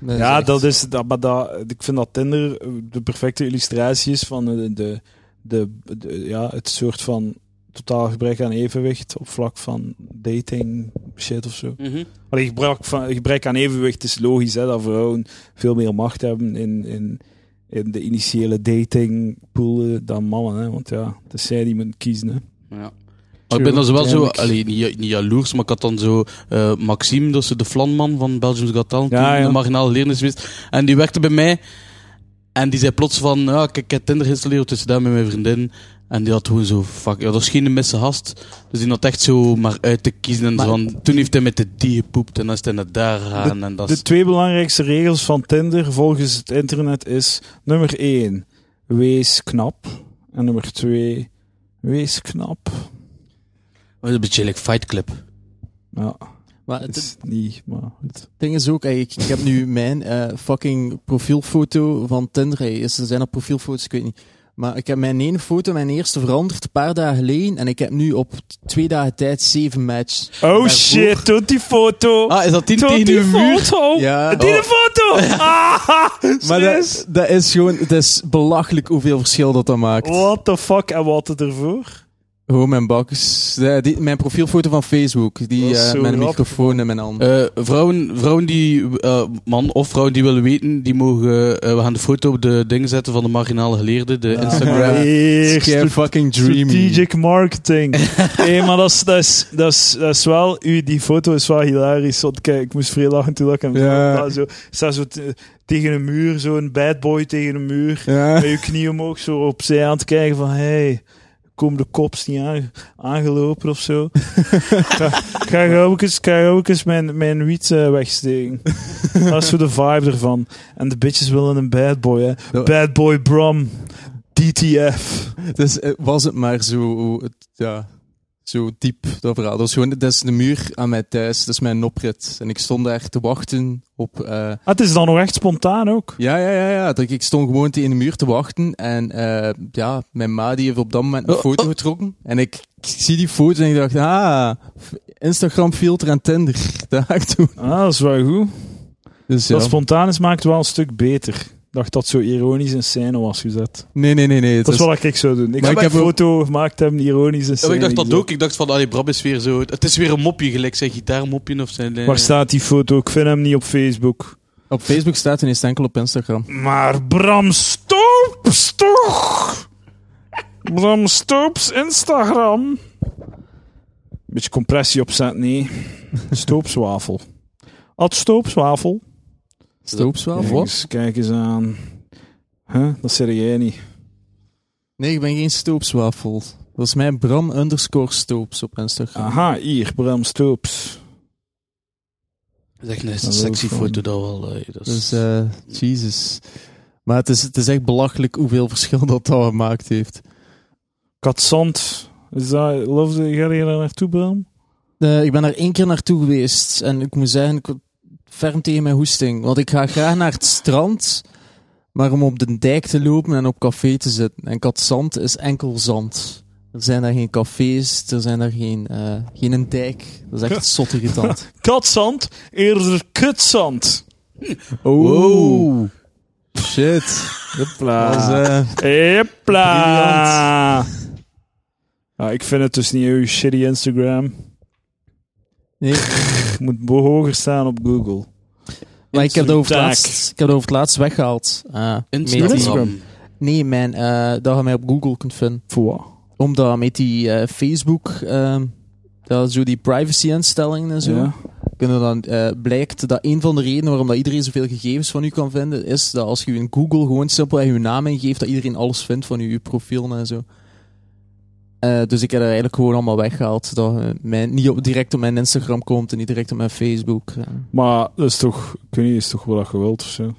[SPEAKER 3] Dat is
[SPEAKER 1] Ja,
[SPEAKER 3] echt-
[SPEAKER 1] dat is, dat, maar dat, ik vind dat Tinder eh, de perfecte illustratie is van de, de, de, de- ja, het soort van totaal gebrek aan evenwicht op vlak van dating shit of zo.
[SPEAKER 2] Mhm.
[SPEAKER 1] Allee, gebrek, van, gebrek aan evenwicht is logisch, hè, dat vrouwen veel meer macht hebben in, in, in de initiële datingpool dan mannen, hè, want ja, het is zij die moeten kiezen, hè.
[SPEAKER 2] Ja. Maar ik ben dan zo wel zo,
[SPEAKER 1] Tuurlijk.
[SPEAKER 2] allee, niet, ja- niet jaloers, maar ik had dan zo eh, Maxime, dat is de Vlanman van Belgium's Got Talent,
[SPEAKER 1] Ja,
[SPEAKER 2] die
[SPEAKER 1] ja.
[SPEAKER 2] een marginale leerling is geweest. En die werkte bij mij en die zei plots van, ja, ik, ik heb Tinder geïnstalleerd, dus daar met mijn vriendin. En die had gewoon zo, fuck, ja, dat is geen misse gast. Dus die had echt zo maar uit te kiezen. En zo
[SPEAKER 3] Maar-
[SPEAKER 2] van, toen heeft hij met de die gepoept en dan is hij naar daar gegaan. En dat
[SPEAKER 1] De
[SPEAKER 2] is,
[SPEAKER 1] twee belangrijkste regels van Tinder volgens het internet is nummer 1, wees knap. En nummer 2, wees knap.
[SPEAKER 2] dat is een beetje like Fight Club.
[SPEAKER 1] Ja,
[SPEAKER 3] Maar
[SPEAKER 1] het
[SPEAKER 3] het,
[SPEAKER 1] is niet, maar goed.
[SPEAKER 3] ding is ook eigenlijk, ik heb nu mijn eh, fucking profielfoto van Tinder. Hey, is- er zijn er profielfoto's, ik weet niet. Maar ik heb mijn ene foto, mijn eerste, veranderd een paar dagen geleden. En ik heb nu op twee dagen tijd zeven matches.
[SPEAKER 1] Oh
[SPEAKER 3] Daarvoor-
[SPEAKER 1] shit, tot die foto.
[SPEAKER 2] Ah, is dat tien
[SPEAKER 1] Tot
[SPEAKER 2] tegen
[SPEAKER 1] die
[SPEAKER 2] uw muur?
[SPEAKER 1] foto.
[SPEAKER 3] Ja.
[SPEAKER 1] Die
[SPEAKER 3] Oh.
[SPEAKER 1] foto. Ah,
[SPEAKER 3] Maar
[SPEAKER 1] serieus?
[SPEAKER 3] dat, dat is gewoon, het is belachelijk hoeveel verschil dat dat maakt.
[SPEAKER 1] What the fuck en wat het ervoor?
[SPEAKER 3] Oh, mijn bakjes. Ja, die- mijn profielfoto van Facebook. Die,
[SPEAKER 1] Dat is
[SPEAKER 3] eh,
[SPEAKER 1] zo
[SPEAKER 3] mijn
[SPEAKER 1] grappig.
[SPEAKER 3] microfoon en mijn hand.
[SPEAKER 2] Eh, vrouwen, vrouwen die, eh, man of vrouwen die willen weten, die mogen, eh, we gaan de foto op de ding zetten van de marginale geleerde, de Instagram.
[SPEAKER 3] Ja.
[SPEAKER 1] Eerst
[SPEAKER 3] Scare fucking dreamy.
[SPEAKER 1] Strategic marketing. Hé, maar dat is, dat, is, dat, is, dat is wel... U, die foto is wel hilarisch. Want kijk, ik moest vrij lachen toen ik hem
[SPEAKER 3] Ja.
[SPEAKER 1] zag. Dat Zo, staat zo te- tegen een muur, zo'n bad boy tegen een muur.
[SPEAKER 3] Ja.
[SPEAKER 1] Met je knie omhoog, zo opzij aan het kijken van... Hey, komen de kops niet aan, aangelopen of zo? ga, ga gauw ook eens, ga gauw ook eens mijn, mijn wiet eh, wegsteken. dat is zo de vibe ervan. En de bitches willen een bad boy, hè. Bad boy Brom. DTF.
[SPEAKER 3] Dus eh, was het maar zo, het, ja, zo diep, dat verhaal. Dat, was gewoon, dat is de muur aan mij thuis, dat is mijn oprit. En ik stond daar te wachten op... eh,
[SPEAKER 1] Ah, het is dan nog echt spontaan ook.
[SPEAKER 3] ja, ja, ja, ja. Dat, ik stond gewoon tegen de muur te wachten. En eh, ja, mijn ma die heeft op dat moment een
[SPEAKER 2] Oh,
[SPEAKER 3] foto
[SPEAKER 2] oh.
[SPEAKER 3] getrokken. En ik, ik zie die foto en ik dacht, ah, Instagram filter en Tinder. Daar ga ik doen.
[SPEAKER 1] Ah, dat is wel goed.
[SPEAKER 3] Dus,
[SPEAKER 1] Dat
[SPEAKER 3] ja.
[SPEAKER 1] spontaan is maakt het wel een stuk beter. Ik dacht dat zo ironisch in scène was gezet.
[SPEAKER 3] Nee, nee, nee, nee. Het
[SPEAKER 1] Dat is
[SPEAKER 3] is-
[SPEAKER 1] wat ik zou doen. Ik
[SPEAKER 3] Maar
[SPEAKER 1] zou
[SPEAKER 3] ik
[SPEAKER 1] een
[SPEAKER 3] heb ook-
[SPEAKER 1] foto gemaakt hebben, ironisch in
[SPEAKER 2] Ja,
[SPEAKER 1] scène.
[SPEAKER 2] maar Oh, ik dacht dat
[SPEAKER 1] gezet.
[SPEAKER 2] ook. Ik dacht van, allee, Brab is weer zo... Het is weer een mopje, gelijk zijn gitaarmopje of zijn... eh,
[SPEAKER 1] Waar staat die foto? Ik vind hem niet op Facebook.
[SPEAKER 3] Op Facebook staat en is het enkel op Instagram.
[SPEAKER 1] Maar Bram, stop! Stop! Bram Stoops Instagram. Beetje compressie opzetten, nee. Stoopswafel. Ad Stoopswafel. Kijk
[SPEAKER 3] Stoopswafel?
[SPEAKER 1] eens, kijk eens aan. Huh? Dat zeg jij niet.
[SPEAKER 3] Nee, ik ben geen stoopswafel. Dat is mijn Bram underscore stoops op Instagram.
[SPEAKER 1] Aha, hier, Bram Stoops.
[SPEAKER 2] Zeg, nee, is
[SPEAKER 1] Dat
[SPEAKER 2] een
[SPEAKER 1] is
[SPEAKER 2] sexy
[SPEAKER 1] ook van-
[SPEAKER 2] foto dat wel. eh, dat is-
[SPEAKER 3] Dus, eh Jesus. Maar het is, het is echt belachelijk hoeveel verschil dat dat gemaakt heeft.
[SPEAKER 1] Katzand. Is dat, love, the- ga je daar naartoe, Bram?
[SPEAKER 3] Eh, ik ben er één keer naartoe geweest en ik moet zeggen, ik word ferm tegen mijn hoesting. Want ik ga graag naar het strand, maar om op de dijk te lopen en op café te zitten. En katzand is enkel zand. Er zijn daar geen cafés, er zijn daar geen, eh, geen een dijk. Dat is echt zot irritant.
[SPEAKER 1] Katzand, eerder kutzand.
[SPEAKER 3] Oh,
[SPEAKER 2] Wow.
[SPEAKER 3] shit.
[SPEAKER 1] Hupla.
[SPEAKER 3] Dat is, eh,
[SPEAKER 1] Hupla. Ah, ik vind het dus niet uw shitty Instagram.
[SPEAKER 3] nee.
[SPEAKER 1] Moet bo- hoger staan op Google.
[SPEAKER 3] Maar ik heb dat over het
[SPEAKER 1] Taak.
[SPEAKER 3] laatst, ik heb dat over het laatst weggehaald. Ah, met die-
[SPEAKER 2] Instagram.
[SPEAKER 3] Nee, man, eh, dat je mij op Google kunt vinden.
[SPEAKER 1] Voor wat?
[SPEAKER 3] Omdat met die eh, Facebook, ehm, dat zo die privacy-instellingen en zo,
[SPEAKER 1] Ja.
[SPEAKER 3] kunnen dan, eh, blijkt dat een van de redenen waarom dat iedereen zoveel gegevens van u kan vinden, is dat als je in Google gewoon simpelweg je naam ingeeft, dat iedereen alles vindt van je, je profiel en zo. Eh, dus ik heb dat eigenlijk gewoon allemaal weggehaald. Dat eh, mijn, niet op, direct op mijn Instagram komt en niet direct op mijn Facebook. eh.
[SPEAKER 1] Maar dat is toch, ik weet niet, is toch wat je wilt of zo.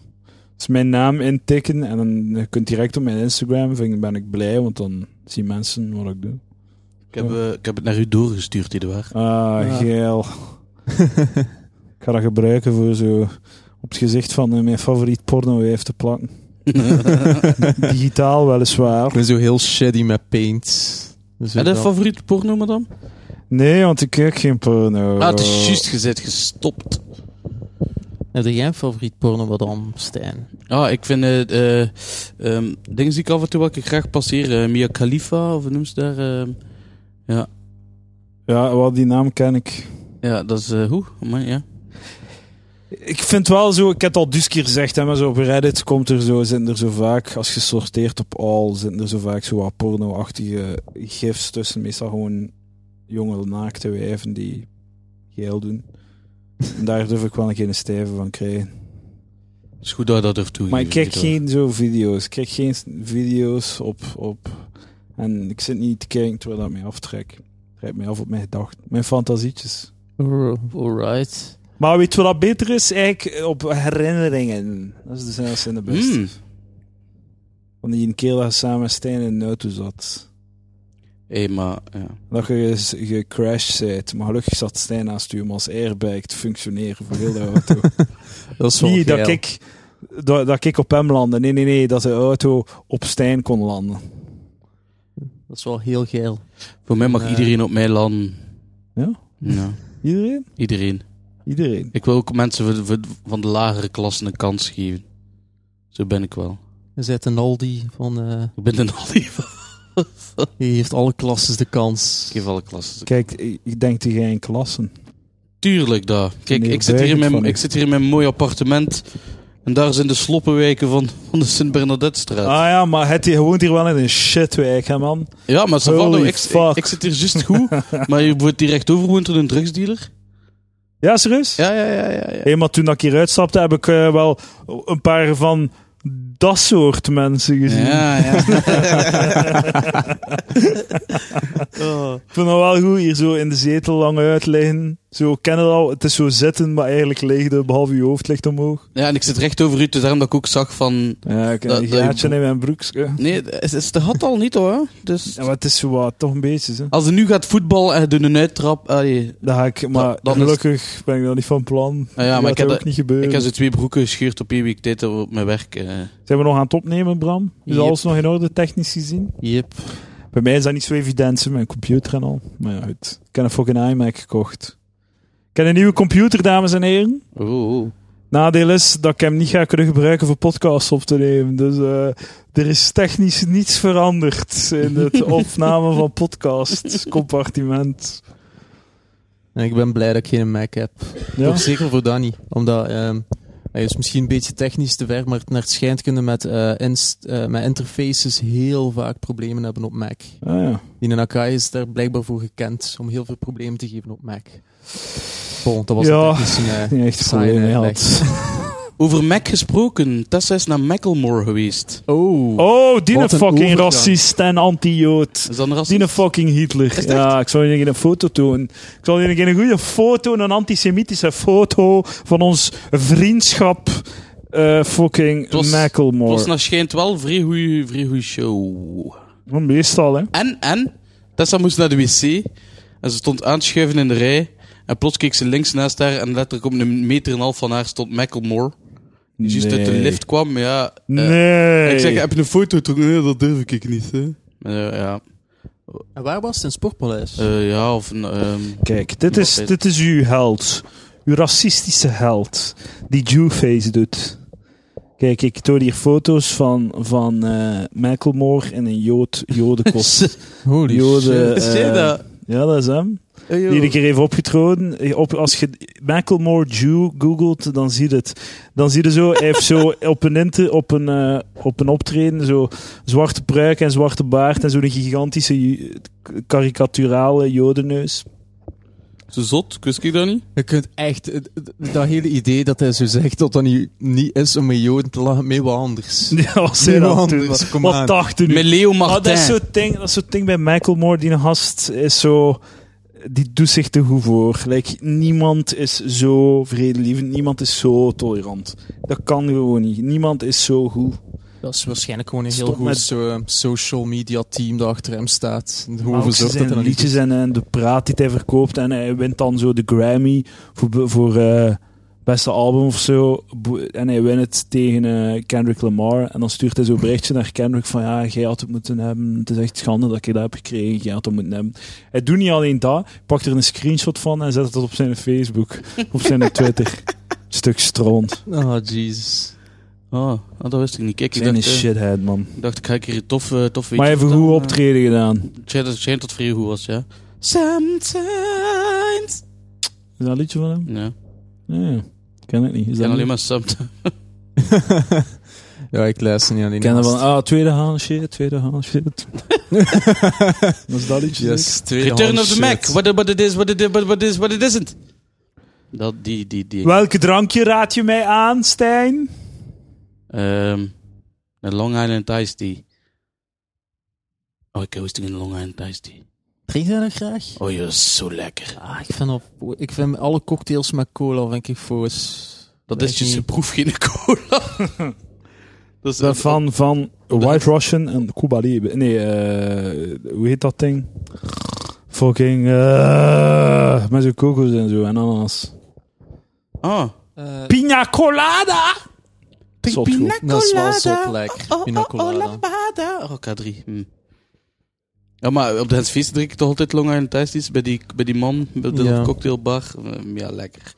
[SPEAKER 1] Dus mijn naam intikken en dan je kunt direct op mijn Instagram, vind ik, ben ik blij, want dan zien mensen wat ik doe.
[SPEAKER 2] Ik heb, eh, ik heb het naar u doorgestuurd, Eduard.
[SPEAKER 1] Ah, geil. Ik ga dat gebruiken voor zo op het gezicht van eh, mijn favoriet porno heeft te plakken. Digitaal weliswaar.
[SPEAKER 3] Ik ben zo heel shitty met paint. Dus
[SPEAKER 2] Heb je
[SPEAKER 3] dat-
[SPEAKER 2] een favoriete porno, madame?
[SPEAKER 1] Nee, want ik kijk geen porno.
[SPEAKER 2] Ah, het is juist gezet, gestopt.
[SPEAKER 3] Heb jij een favoriet porno wat dan, Stijn?
[SPEAKER 2] Ah, ik vind eh eh, ehm, dingen die ik af en toe wat ik graag passeer. eh, Mia Khalifa, of hoe noem ze daar? ehm,
[SPEAKER 1] Ja, wel, die naam ken ik.
[SPEAKER 2] ja, dat is eh, hoe? Amai, ja.
[SPEAKER 1] Ik vind wel zo, ik heb het al dus keer gezegd, hè, maar zo op Reddit komt er zo, zitten er zo vaak, als je sorteert op all, zitten er zo vaak zo wat porno-achtige gifs tussen. Meestal gewoon jonge naakte wijven die geel doen. En daar durf ik wel een geen stijve van krijgen.
[SPEAKER 2] Het is goed dat je dat durft toe.
[SPEAKER 1] Maar ik kijk geen zo video's. Ik kijk geen s- video's op, op. En ik zit niet te kijken terwijl dat mij aftrekt. Het Trekt mij af op mijn gedachten. Mijn fantasietjes.
[SPEAKER 3] Alright.
[SPEAKER 1] Maar weet je wat dat beter is? Eigenlijk eh, op herinneringen. Dat is de zelfs in de best.
[SPEAKER 2] Mm.
[SPEAKER 1] Van die een keer dat je samen met Stijn in de auto zat.
[SPEAKER 2] Hé, maar... Ja.
[SPEAKER 1] Dat je s- gecrashed bent. Maar gelukkig zat Stijn naast u om als airbag te functioneren voor heel de auto.
[SPEAKER 3] Dat is wel
[SPEAKER 1] niet dat
[SPEAKER 3] geil.
[SPEAKER 1] ik, dat, dat ik op hem landde. Nee, nee, nee. Dat de auto op Stijn kon landen.
[SPEAKER 3] Dat is wel heel geil.
[SPEAKER 2] Voor mij mag
[SPEAKER 1] Eh.
[SPEAKER 2] iedereen op mij landen.
[SPEAKER 1] Ja?
[SPEAKER 2] Ja,
[SPEAKER 1] Iedereen?
[SPEAKER 2] iedereen.
[SPEAKER 1] Iedereen.
[SPEAKER 2] Ik wil ook mensen van- van- van de lagere klassen een kans geven. Zo ben ik wel.
[SPEAKER 3] Je zet een Aldi van... eh,
[SPEAKER 2] Ik ben een Aldi van.
[SPEAKER 3] die heeft alle klasses de kans.
[SPEAKER 2] Ik geef alle klassen.
[SPEAKER 1] Kijk, ik ik denk tegen in klassen.
[SPEAKER 2] Tuurlijk daar. Kijk,
[SPEAKER 1] Nee,
[SPEAKER 2] ik, zit
[SPEAKER 1] weet
[SPEAKER 2] hier in
[SPEAKER 1] ik
[SPEAKER 2] mijn,
[SPEAKER 1] van niet.
[SPEAKER 2] ik zit hier in mijn mooi appartement. En daar zijn de sloppenwijken van, van de Sint-Bernadettestraat.
[SPEAKER 1] Ah ja, maar het, je woont hier wel in een shitwijk, hè man.
[SPEAKER 2] ja, maar Savando,
[SPEAKER 1] holy
[SPEAKER 2] ik, ik,
[SPEAKER 1] fuck.
[SPEAKER 2] ik zit hier juist goed. maar je wordt direct overwoond door een drugsdealer.
[SPEAKER 1] Ja, serieus?
[SPEAKER 2] Ja, ja, ja, ja. ja.
[SPEAKER 1] Eenmaal toen dat ik hier uitstapte, heb ik eh, wel een paar van dat soort mensen gezien.
[SPEAKER 2] Ja, ja.
[SPEAKER 1] Ik vind het wel goed, hier zo in de zetel lang uit liggen. Zo, ik ken het al, het is zo zitten, maar eigenlijk ligt het, behalve je hoofd ligt omhoog.
[SPEAKER 2] ja, en ik zit recht over u, dus daarom dat ik ook zag van...
[SPEAKER 1] Ja, ik heb
[SPEAKER 2] Dat-
[SPEAKER 1] een
[SPEAKER 2] dat je
[SPEAKER 1] gaatje in mijn broekje.
[SPEAKER 2] Nee, het is de had al niet hoor. Dus
[SPEAKER 1] Ja, maar het is zo wat, toch een beetje, hè.
[SPEAKER 2] als je nu gaat voetballen en je doet een uittrap... allee,
[SPEAKER 1] Dat ga ik, maar
[SPEAKER 2] Dat- dat is-
[SPEAKER 1] gelukkig ben ik daar niet van plan.
[SPEAKER 2] Ah ja,
[SPEAKER 1] Dat
[SPEAKER 2] maar ik
[SPEAKER 1] gaat
[SPEAKER 2] heb
[SPEAKER 1] ook
[SPEAKER 2] dat-
[SPEAKER 1] niet gebeuren.
[SPEAKER 2] ik heb ze twee broeken gescheurd op één week tijd op mijn werk. eh.
[SPEAKER 1] Zijn we nog aan het opnemen, Bram? Is
[SPEAKER 3] Yep.
[SPEAKER 1] alles nog in orde, technisch gezien?
[SPEAKER 3] Yep.
[SPEAKER 1] Bij mij is dat niet zo evident, hè, mijn computer en al. Maar ja, goed. Ik heb een fucking iMac gekocht. Ik heb een nieuwe computer, dames en heren.
[SPEAKER 2] Oh, oh.
[SPEAKER 1] Nadeel is dat ik hem niet ga kunnen gebruiken voor podcasts op te nemen. Dus eh, er is technisch niets veranderd in het opnemen van podcastcompartiment.
[SPEAKER 3] En ik ben blij dat ik geen Mac heb.
[SPEAKER 1] Ja?
[SPEAKER 3] Toch zeker voor Danny. Omdat ehm, Hij is misschien een beetje technisch te ver, maar naar het schijnt kunnen met, eh, inst- eh, met interfaces heel vaak problemen hebben op Mac.
[SPEAKER 1] Ah, ja.
[SPEAKER 3] Die Nakai is daar blijkbaar voor gekend om heel veel problemen te geven op Mac. Bon, dat was
[SPEAKER 1] Ja.
[SPEAKER 3] een technische, eh,
[SPEAKER 1] Niet echt
[SPEAKER 3] saaie
[SPEAKER 1] problemen
[SPEAKER 3] uitleg.
[SPEAKER 1] had.
[SPEAKER 2] Over Mac gesproken, Tessa is naar Macklemore geweest.
[SPEAKER 3] Oh,
[SPEAKER 1] Oh, die
[SPEAKER 3] Wat een
[SPEAKER 1] fucking
[SPEAKER 3] overgang.
[SPEAKER 1] racist en anti-jood.
[SPEAKER 2] Is dat een
[SPEAKER 1] Die
[SPEAKER 2] racisme?
[SPEAKER 1] een fucking Hitler.
[SPEAKER 2] het
[SPEAKER 1] Ja, ik zal je een foto tonen. Ik zal je een goede foto, een antisemitische foto van ons vriendschap. eh, fucking
[SPEAKER 2] Het was- Het was
[SPEAKER 1] Macklemore.
[SPEAKER 2] naar schijnt wel vrij goeie- vrij goeie show.
[SPEAKER 1] Oh, Meestal, hè.
[SPEAKER 2] En, en, Tessa moest naar de wc. En ze stond aanschuiven in de rij. En plots keek ze links naast haar. En letterlijk op een meter en een half van haar stond Macklemore. Die juist uit de
[SPEAKER 1] Nee.
[SPEAKER 2] lift kwam. maar Ja, eh,
[SPEAKER 1] nee.
[SPEAKER 2] Ik zeg, eh, heb je een foto terug? Nee, dat durf ik niet. Hè. Eh, ja.
[SPEAKER 3] en waar was het? In het Sportpaleis?
[SPEAKER 2] Eh, ja, of een... ehm,
[SPEAKER 1] Kijk, dit is, dit is uw held. Uw racistische held. Die Jewface doet. Kijk, ik toon hier foto's van, van eh Macklemore in een jood, jodenkost.
[SPEAKER 3] Holy
[SPEAKER 1] Joden,
[SPEAKER 3] shit.
[SPEAKER 1] eh,
[SPEAKER 2] Zie je dat?
[SPEAKER 1] ja, dat is hem. Die een keer even opgetroden. Op, als je Macklemore Jew googelt, dan zie je het. Dan zie je zo, hij heeft zo op een, inter, op een, eh, op een optreden zo zwarte pruik en zwarte baard en zo'n gigantische ju- karikaturale jodenneus.
[SPEAKER 2] Zo zot, kus ik dat niet?
[SPEAKER 3] Je kunt echt... het- het- Dat hele idee dat hij zo zegt dat dat niet, niet is om met Joden te lachen, mee wat anders.
[SPEAKER 1] Ja, was hij
[SPEAKER 3] Nee,
[SPEAKER 1] dat
[SPEAKER 3] want-
[SPEAKER 1] toen?
[SPEAKER 3] dus
[SPEAKER 1] Wat,
[SPEAKER 3] kom aan.
[SPEAKER 1] wat dacht u nu?
[SPEAKER 2] Met Leo
[SPEAKER 1] Ah, dat,
[SPEAKER 2] Martin.
[SPEAKER 1] is zo'n ding, dat is zo'n ding bij Macklemore, die een gast is zo... Die doet zich te goed voor. Like, niemand is zo vredelievend, niemand is zo tolerant. Dat kan gewoon niet. Niemand is zo goed.
[SPEAKER 3] Dat is waarschijnlijk gewoon een
[SPEAKER 1] heel
[SPEAKER 3] heel
[SPEAKER 1] Stop goed
[SPEAKER 3] goed eh,
[SPEAKER 1] met-
[SPEAKER 3] social media team dat achter hem staat.
[SPEAKER 1] Maar ook
[SPEAKER 3] Hoe zorgt dat
[SPEAKER 1] zijn
[SPEAKER 3] er
[SPEAKER 1] liedjes en, en de praat die hij verkoopt. En hij wint dan zo de Grammy voor, be- voor eh, beste album of zo. Bo- En hij wint het tegen eh, Kendrick Lamar. En dan stuurt hij zo'n berichtje naar Kendrick van ja, jij had het moeten hebben. Het is echt schande dat ik dat heb gekregen. Jij had dat moeten hebben. Hij doet niet alleen dat. Hij pakt er een screenshot van en zet dat op zijn Facebook. op zijn Twitter. Stuk stront.
[SPEAKER 3] Oh, jezus.
[SPEAKER 2] Ah, ah, dat wist ik niet. Kijk, ik
[SPEAKER 1] Zijn een
[SPEAKER 2] dacht, eh,
[SPEAKER 1] shithead, man.
[SPEAKER 2] ik dacht, ik ga een keer een tof, eh, tof
[SPEAKER 1] Maar hij heeft
[SPEAKER 2] weetje
[SPEAKER 1] een goed
[SPEAKER 2] vertellen.
[SPEAKER 1] optreden gedaan.
[SPEAKER 2] Het schijnt- Het schijnt dat het vrij goed was, ja. Sometimes.
[SPEAKER 1] Is dat een liedje van hem?
[SPEAKER 2] Ja, ik
[SPEAKER 1] Nee, ken ik niet. Is dat
[SPEAKER 2] ken
[SPEAKER 1] niet?
[SPEAKER 2] alleen maar sometimes.
[SPEAKER 3] ja, ik luister niet aan die
[SPEAKER 1] Ik ken dat van,
[SPEAKER 3] naast.
[SPEAKER 1] ah, tweede hand shit, tweede hand shit. dat is dat liedje. zeker?
[SPEAKER 3] Yes, tweedehands
[SPEAKER 2] Return of the
[SPEAKER 3] shit.
[SPEAKER 2] Mac. What, what it is, what it, what, what is, what it isn't. Dat, die, die, die.
[SPEAKER 1] Welke drankje raad je mij aan, Stijn?
[SPEAKER 2] Ehm, een Long Island Ice Tea. Oh, ik hoesting een Long Island Ice Tea.
[SPEAKER 3] Drink je dat graag?
[SPEAKER 2] Oh, je is zo lekker.
[SPEAKER 3] Ah, ik, vind op, ik vind alle cocktails met cola vind ik foos.
[SPEAKER 2] Dat
[SPEAKER 3] Weet
[SPEAKER 2] is
[SPEAKER 3] ik
[SPEAKER 2] dus
[SPEAKER 3] niet.
[SPEAKER 2] een proef geen cola. dat is
[SPEAKER 1] Van, van White Russian en Cuba Libre. Nee, eh, hoe heet dat ding? Fucking, eh, met zo'n kokos en zo, en ananas.
[SPEAKER 2] Ah,
[SPEAKER 3] Eh,
[SPEAKER 1] Pina colada! Zot goed.
[SPEAKER 3] dat is wel zot lekker. Pina colada.
[SPEAKER 2] colada. Oh, K3. Hm. Ja, maar op de Hens Feest drink ik toch altijd Long Island Ice Tea's bij die, bij die man, bij de
[SPEAKER 3] Ja.
[SPEAKER 2] cocktailbar. Ehm, Ja, lekker.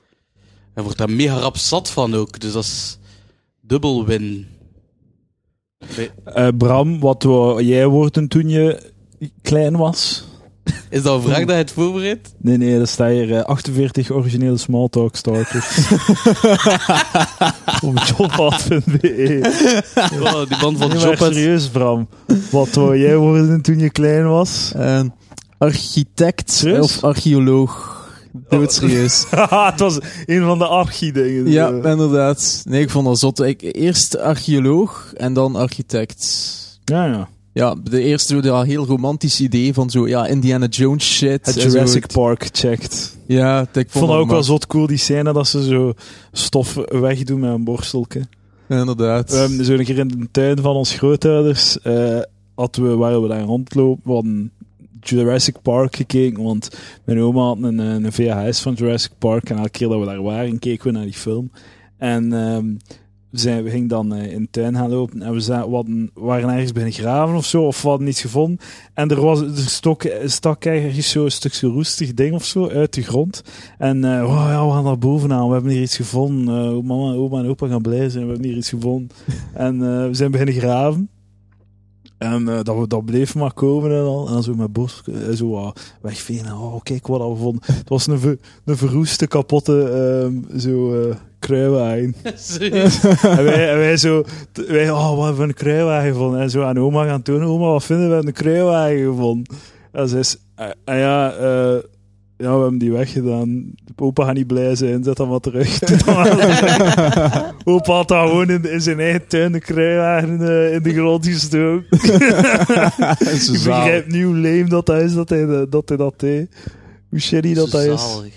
[SPEAKER 2] Hij wordt daar mega rap zat van ook, dus dat is dubbel win. Bij-
[SPEAKER 1] Eh, Bram, wat wou jij worden toen je klein was?
[SPEAKER 2] Is dat een vraag dat hij het voorbereidt?
[SPEAKER 1] Nee, nee, daar sta hier eh, 48 originele smalltalk stalkers. Op jobhad.be.
[SPEAKER 2] Oh, die man van
[SPEAKER 1] E. Nee,
[SPEAKER 2] de
[SPEAKER 1] maar
[SPEAKER 2] job had-
[SPEAKER 1] serieus, Bram. Wat wou jij worden toen je klein was?
[SPEAKER 3] Een Eh, architect
[SPEAKER 1] Serieus?
[SPEAKER 3] of archeoloog. Oh. Doodserieus.
[SPEAKER 1] Haha, het was een van de archie-dingen. Eh,
[SPEAKER 3] Ja,
[SPEAKER 1] Zo.
[SPEAKER 3] inderdaad. Nee, ik vond dat zot. Ik, eerst archeoloog en dan architect.
[SPEAKER 1] ja, ja.
[SPEAKER 3] Ja, de eerste door dat heel romantisch idee van zo, ja, Indiana Jones shit.
[SPEAKER 1] Het
[SPEAKER 3] en
[SPEAKER 1] Jurassic
[SPEAKER 3] zo.
[SPEAKER 1] Park checkt.
[SPEAKER 3] Ja, ik vond,
[SPEAKER 1] Ik vond
[SPEAKER 3] dat
[SPEAKER 1] dat ook wel
[SPEAKER 3] maar-
[SPEAKER 1] zot cool, die scène dat ze zo stof wegdoen met een borstelke.
[SPEAKER 3] Inderdaad.
[SPEAKER 1] Ehm, dus We hebben zo een keer in de tuin van ons grootouders, eh hadden we, waar we daar rondlopen, we hadden Jurassic Park gekeken, want mijn oma had een, eh, een VHS van Jurassic Park en elke keer dat we daar waren, keken we naar die film. En ehm, we, zijn, we gingen dan eh, in de tuin gaan lopen en we, za- we hadden, waren ergens binnen graven of zo, of we hadden iets gevonden. En er, was, er stok, stak ergens zo'n stukje roestig ding of zo uit de grond. En eh, wow, ja, we gaan daar bovenaan, we hebben hier iets gevonden. Eh, mama, oma en opa gaan blij zijn, we hebben hier iets gevonden. En eh, we zijn beginnen graven. En eh, dat, we- dat bleef maar komen en al. En dan zo met bos eh, zo wat wegvegen. Oh, kijk wat dat we vonden. Het was een, ver- een verroeste, kapotte ehm, zo, eh kruiwagen. en, wij, en wij zo... t- Wij, oh, wat hebben we een kruiwagen gevonden? En zo aan oma gaan tonen. Oma, wat vinden we? We hebben een kruiwagen gevonden. En ze is... eh, ah ja, eh, ja, we hebben die weggedaan. Opa gaat niet blij zijn. Zet hem wat terug. Doe dat maar. Opa had dat gewoon in, in zijn eigen tuin de kruiwagen in de, in de grond gestoken.
[SPEAKER 3] is
[SPEAKER 1] Ik begrijp niet hoe leem dat dat is dat hij dat, dat, hij dat deed. Hoe shitty dat dat is.
[SPEAKER 2] Zalig.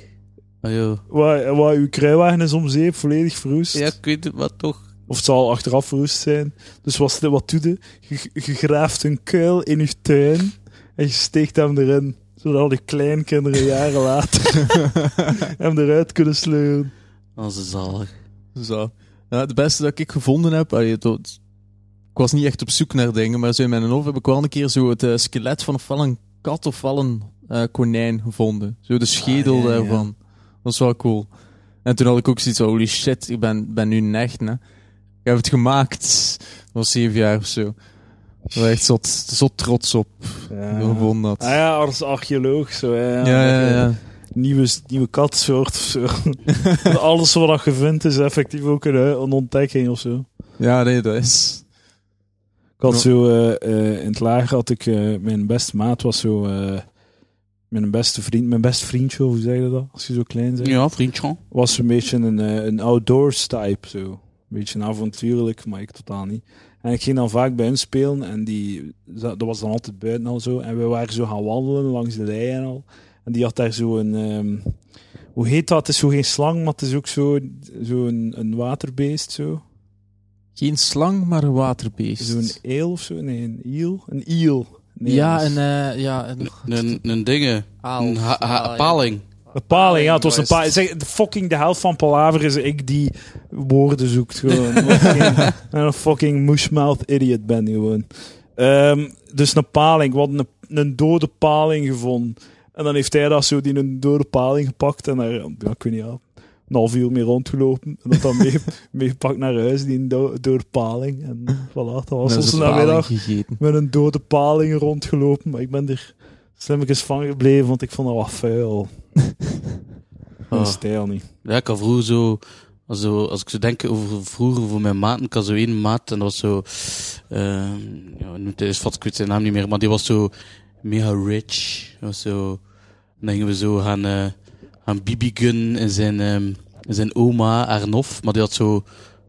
[SPEAKER 2] Ah, joh.
[SPEAKER 1] Waar, waar uw kruiwagen is om zeep, volledig verroest.
[SPEAKER 2] Ja, ik weet het, maar toch.
[SPEAKER 1] Of het zal achteraf verroest zijn. Dus wat, wat doe je? Je- Je graaft een kuil in je tuin en je steekt hem erin. Zodat al die kleinkinderen jaren later hem eruit kunnen sleuren.
[SPEAKER 2] Dat is zalig.
[SPEAKER 3] Zo. Ja, het beste dat ik gevonden heb, allee, het- het- ik was niet echt op zoek naar dingen, maar zo in mijn hoofd heb ik wel een keer zo het eh, skelet van ofwel een kat ofwel een eh, konijn gevonden. Zo de schedel
[SPEAKER 1] Ah,
[SPEAKER 2] ja, ja, ja.
[SPEAKER 3] daarvan. Dat was wel cool. En toen had ik ook zoiets van, holy shit, ik ben, ben nu necht, hè. Ik heb het gemaakt. Dat was zeven jaar of zo. Ik was echt zot, zot trots op.
[SPEAKER 1] Ja.
[SPEAKER 3] Ik gevonden dat.
[SPEAKER 1] Ah ja, als archeoloog zo. Ja,
[SPEAKER 3] ja, ja, ja.
[SPEAKER 1] Nieuwe, nieuwe katsoort of zo. Alles wat je vindt is effectief ook een, een ontdekking of zo.
[SPEAKER 3] Ja, nee, dat is...
[SPEAKER 1] Ik had
[SPEAKER 3] Ja.
[SPEAKER 1] zo, eh, eh, in het lager had ik, eh, mijn beste maat was zo, eh, mijn beste vriend, mijn best vriendje, hoe zeg je dat, als je zo klein bent?
[SPEAKER 2] Ja, vriendje.
[SPEAKER 1] Was een beetje een, eh, een outdoors type, zo. Een beetje een avontuurlijk, maar ik totaal niet. En ik ging dan vaak bij hun spelen en die, dat dat was dan altijd buiten al zo. En we waren zo gaan wandelen langs de lei en al. En die had daar zo een, ehm, hoe heet dat? Het is zo geen slang, maar het is ook zo, zo een, een waterbeest, zo.
[SPEAKER 3] Geen slang, maar een waterbeest.
[SPEAKER 1] Zo'n eel of zo? Nee, een iel. Een iel. Nee,
[SPEAKER 3] ja,
[SPEAKER 1] dat
[SPEAKER 3] en
[SPEAKER 1] is-
[SPEAKER 3] eh, ja, een
[SPEAKER 2] Een, een dingen.
[SPEAKER 3] aal.
[SPEAKER 2] Een ha- ha-
[SPEAKER 3] Aal, ja.
[SPEAKER 2] paling.
[SPEAKER 1] Een paling, ja, het was een
[SPEAKER 3] Juist.
[SPEAKER 1] paling. Zeg, de fucking de helft van Palaver is ik die woorden zoekt. Gewoon. Fucking- een fucking mushmouth idiot ben gewoon. Ehm, dus een paling, wat een, een dode paling gevonden. En dan heeft hij dat zo, die een dode paling gepakt en daar, ja, ik weet niet, ja, een half uur mee rondgelopen. En dat dan mee, meegepakt naar huis, die do- dode paling. En voilà, dat was
[SPEAKER 3] Dat is
[SPEAKER 1] onze
[SPEAKER 3] een
[SPEAKER 1] namiddag.
[SPEAKER 3] paling gegeten.
[SPEAKER 1] met een dode paling rondgelopen, maar ik ben er slimmekes van gebleven, want ik vond dat wat vuil. Mijn
[SPEAKER 2] Ah.
[SPEAKER 1] stijl niet.
[SPEAKER 2] Ja, ik had vroeger zo, als, zo, als ik zo denk over vroeger voor mijn maten, ik had zo één maat en dat was zo, ehm ja, hoe noemt hij is vat, ik weet zijn naam niet meer, maar die was zo mega rich. Hij Was zo, en dan gingen we zo gaan, eh gaan bibigun en zijn, ehm, en zijn oma, Arnof, maar die had zo, een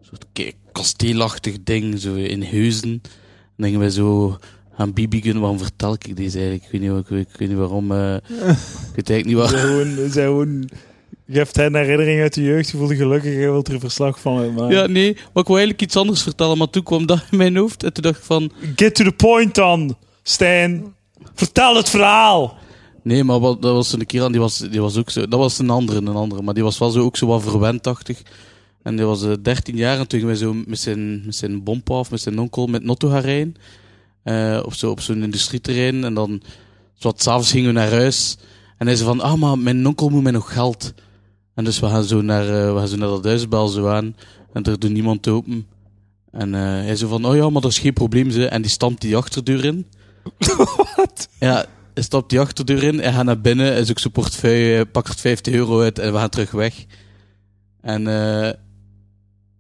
[SPEAKER 2] soort ke- kasteelachtig ding, zo in Heuzen. En dan gingen we zo gaan bibigun, waarom vertel ik deze eigenlijk? Ik weet niet, wa- ik weet, ik weet niet waarom, eh ik weet eigenlijk niet
[SPEAKER 1] Ze
[SPEAKER 2] waar.
[SPEAKER 1] zijn gewoon, ze zijn gewoon, je hebt een herinnering uit de jeugd, je voelt je gelukkig, je wilt er verslag van uitmaken.
[SPEAKER 2] Ja, nee, maar ik wil eigenlijk iets anders vertellen, maar toen kwam dat in mijn hoofd en toen dacht ik van...
[SPEAKER 1] Get to the point dan, Stijn. Vertel het verhaal.
[SPEAKER 2] Nee, maar wat, dat was een keer aan, die was, die was ook zo... Dat was een andere, een andere, maar die was wel zo, ook zo wat verwendachtig. En die was eh, 13 jaar en toen gingen wij zo met zijn, met zijn bompa of met zijn onkel met Notto gaan rijden. Eh, op zo- op zo'n industrieterrein en dan... Zowat, s'avonds gingen we naar huis en hij zei van... Ah, maar mijn onkel moet mij nog geld. En dus we gaan zo naar, eh, we gaan zo naar dat huisbel zo aan en er doet niemand open. En eh, hij zei van, oh ja, maar dat is geen probleem. Ze. En die stampt die achterdeur in. Ja, hij stapt die achterdeur in en gaat naar binnen. Hij zoekt zijn portefeuille, pakt er 50 euro uit en we gaan terug weg. En, eh,